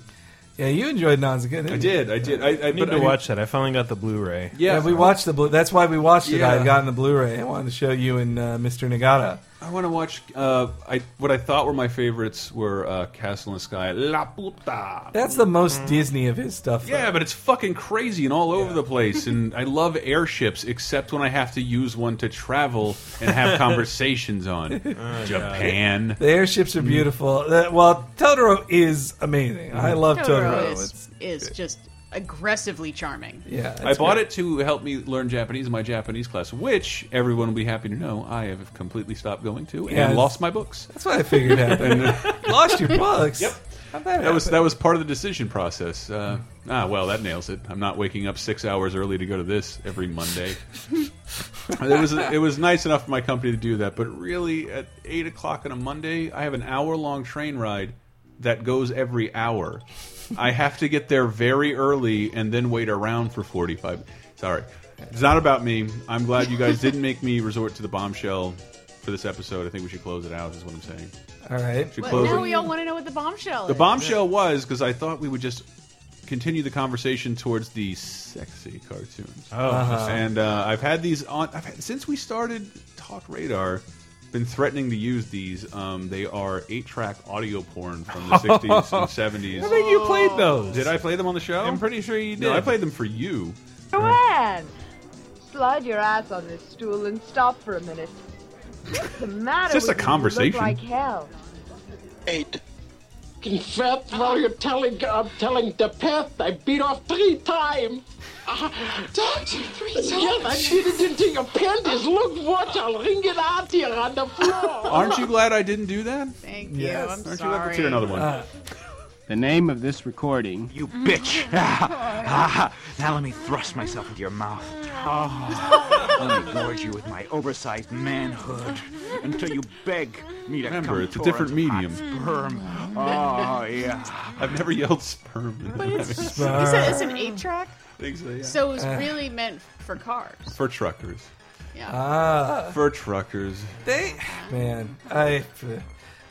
yeah, you enjoyed Nausicaa. Didn't I you? did, I did. I, I I need but to I- watch that. I finally got the Blu-ray. Yeah, Yeah, we watched the blue. That's why we watched it. I Yeah. had gotten the Blu-ray. I wanted to show you and uh, Mr. Nagata. I want to watch. Uh, I what I thought were my favorites were uh, Castle in the Sky, La Puta. That's the most Disney of his stuff. though. yeah, but it's fucking crazy and all over the place. And I love airships, except when I have to use one to travel *laughs* and have conversations on. Oh, Japan. The airships are Mm. beautiful. Uh, well, Totoro is amazing. I Mm-hmm. love Totoro. Totoro is, It's- is just aggressively charming. yeah, it's I bought great. it to help me learn Japanese in my Japanese class, which everyone will be happy to know I have completely stopped going to and Yeah, it's- lost my books. That's what I *laughs* figured happened. Lost your books. Yep. That was that was part of the decision process. Uh, ah, well, that nails it. I'm not waking up six hours early to go to this every Monday. *laughs* it was it was nice enough for my company to do that, but really at eight o'clock on a Monday, I have an hour long train ride that goes every hour. I have to get there very early and then wait around for forty five. Sorry, it's not about me. I'm glad you guys didn't make me resort to the bombshell for this episode. I think we should close it out. Is what I'm saying. All right. Should But close now it. we all want to know what the bombshell The is. bombshell was because I thought we would just continue the conversation towards the sexy cartoons. Oh. Uh-huh. and uh, I've had these on I've had, since we started Talk Radar. Been threatening to use these. Um, they are eight-track audio porn from the *laughs* '60s and '70s. I think you played those. Did I play them on the show? I'm pretty sure you did. No, I played them for you. Joanne! Slide your ass on this stool and stop for a minute. What's the matter It's just with a you? conversation. You look like hell. Eight. Confess while you're telling I'm telling the pest I beat off three times. Uh, Doctor, three times? Yes, I did it into your panties. Look, what? I'll wring it out here on the floor. Aren't you glad I didn't do that? Thank you, Yes. I'm Aren't you glad? Let's hear sorry. another one. Uh, The name of this recording. You bitch! *laughs* now let me thrust myself into your *laughs* mouth. Ah, let me gorge you with my oversized manhood until you beg me to Remember, come it's a torrent different of medium. *laughs* hot sperm. Oh yeah. I've never yelled sperm. in But the- it's, you *laughs* said it's an eight track, I think so, yeah. so it was really meant for cars. for truckers. Yeah. Ah. for truckers. They, man, I,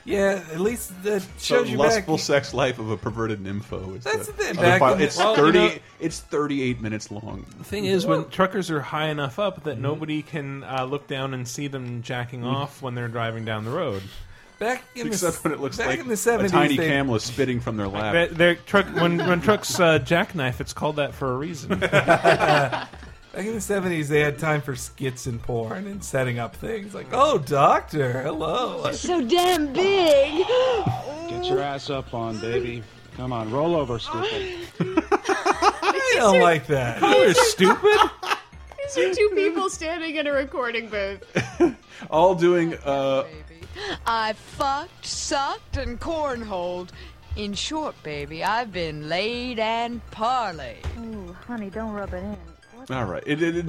yeah. At least that shows the you back. lustful sex life of a perverted nympho. Is That's the, the thing, other back file. in the- It's Well, you thirty. know- it's thirty-eight minutes long. The thing is, when truckers are high enough up that nobody can uh, look down and see them jacking Mm. off when they're driving down the road. Back in *laughs* except the, when it looks back like in the 70s, a tiny they- camel is spitting from their lap. That- their truck when when trucks uh, jackknife, it's called that for a reason. Back in the seventies, they had time for skits and porn and setting up things like, "Oh, doctor, hello." So damn big. *laughs* Get your ass up on, baby. Come on, roll over, stupid. I don't like that. You're stupid. These are two people standing in a recording booth. *laughs* All doing. Uh, I fucked, sucked, and cornholed. In short, baby, I've been laid and parlayed. Ooh, honey, don't rub it in. all right. It, it, it,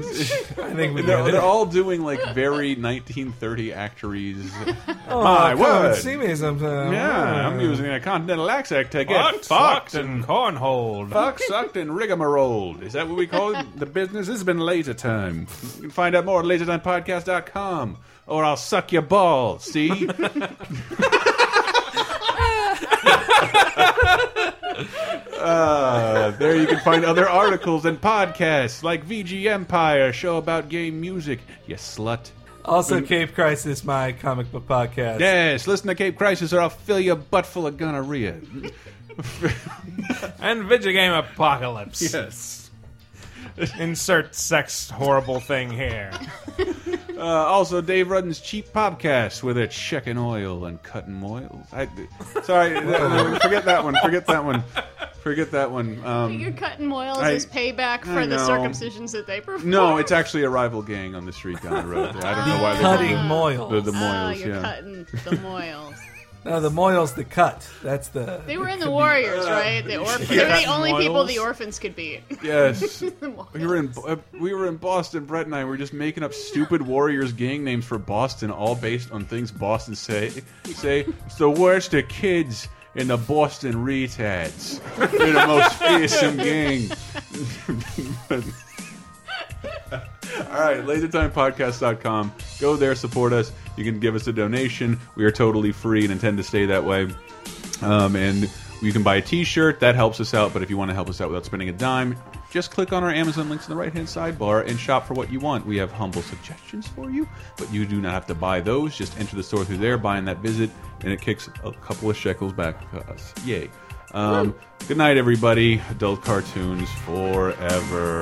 I think we *laughs* they're, got it. they're all doing like very 1930 actories. Oh, My come word. and see me sometime. Yeah, I'm using a continental accent to get Fucked, fucked, sucked, and cornholed. Fucked, sucked, and rigmarole. Is that what we call it? The business has been Laser Time. You can find out more at lasertimepodcast.com or I'll suck your balls, see? *laughs* Uh, there you can find other articles and podcasts like VG Empire, show about game music. You slut. Also, Cape Crisis, my comic book podcast. Yes, listen to Cape Crisis or I'll fill your butt full of gonorrhea. *laughs* and video game apocalypse. *laughs* Yes. Insert sex horrible thing here. Uh, also, Dave Rudden's cheap podcast where they're checking oil and cutting oils. I, sorry, *laughs* no, no, forget that one. Forget that one. Forget that one. You're Um, cutting moils I- as payback for I the know. circumcisions that they perform. no, *laughs* it's actually a rival gang on the street down the road. I don't know why they Cutting moils. The, the Ah, moils, you're yeah. cutting *laughs* the moils. No, the Moyles, the cut. That's the. They were in the Warriors, right? The *laughs* orphans. yeah. They're the only Moils. people the orphans could beat. Yes, The we were in uh, we were in Boston. Brett and I were just making up stupid Warriors gang names for Boston, all based on things Boston say. Say it's the worst of kids in the Boston retards. They're the most fearsome gang. *laughs* all right, lasertimepodcast.com. Go there, support us. You can give us a donation. We are totally free and intend to stay that way. Um, and you can buy a T-shirt. That helps us out. But if you want to help us out without spending a dime, just click on our Amazon links in the right-hand sidebar and shop for what you want. We have humble suggestions for you, but you do not have to buy those. Just enter the store through there, buying that visit, and it kicks a couple of shekels back to us. Yay! Um, good night, everybody. Adult cartoons forever.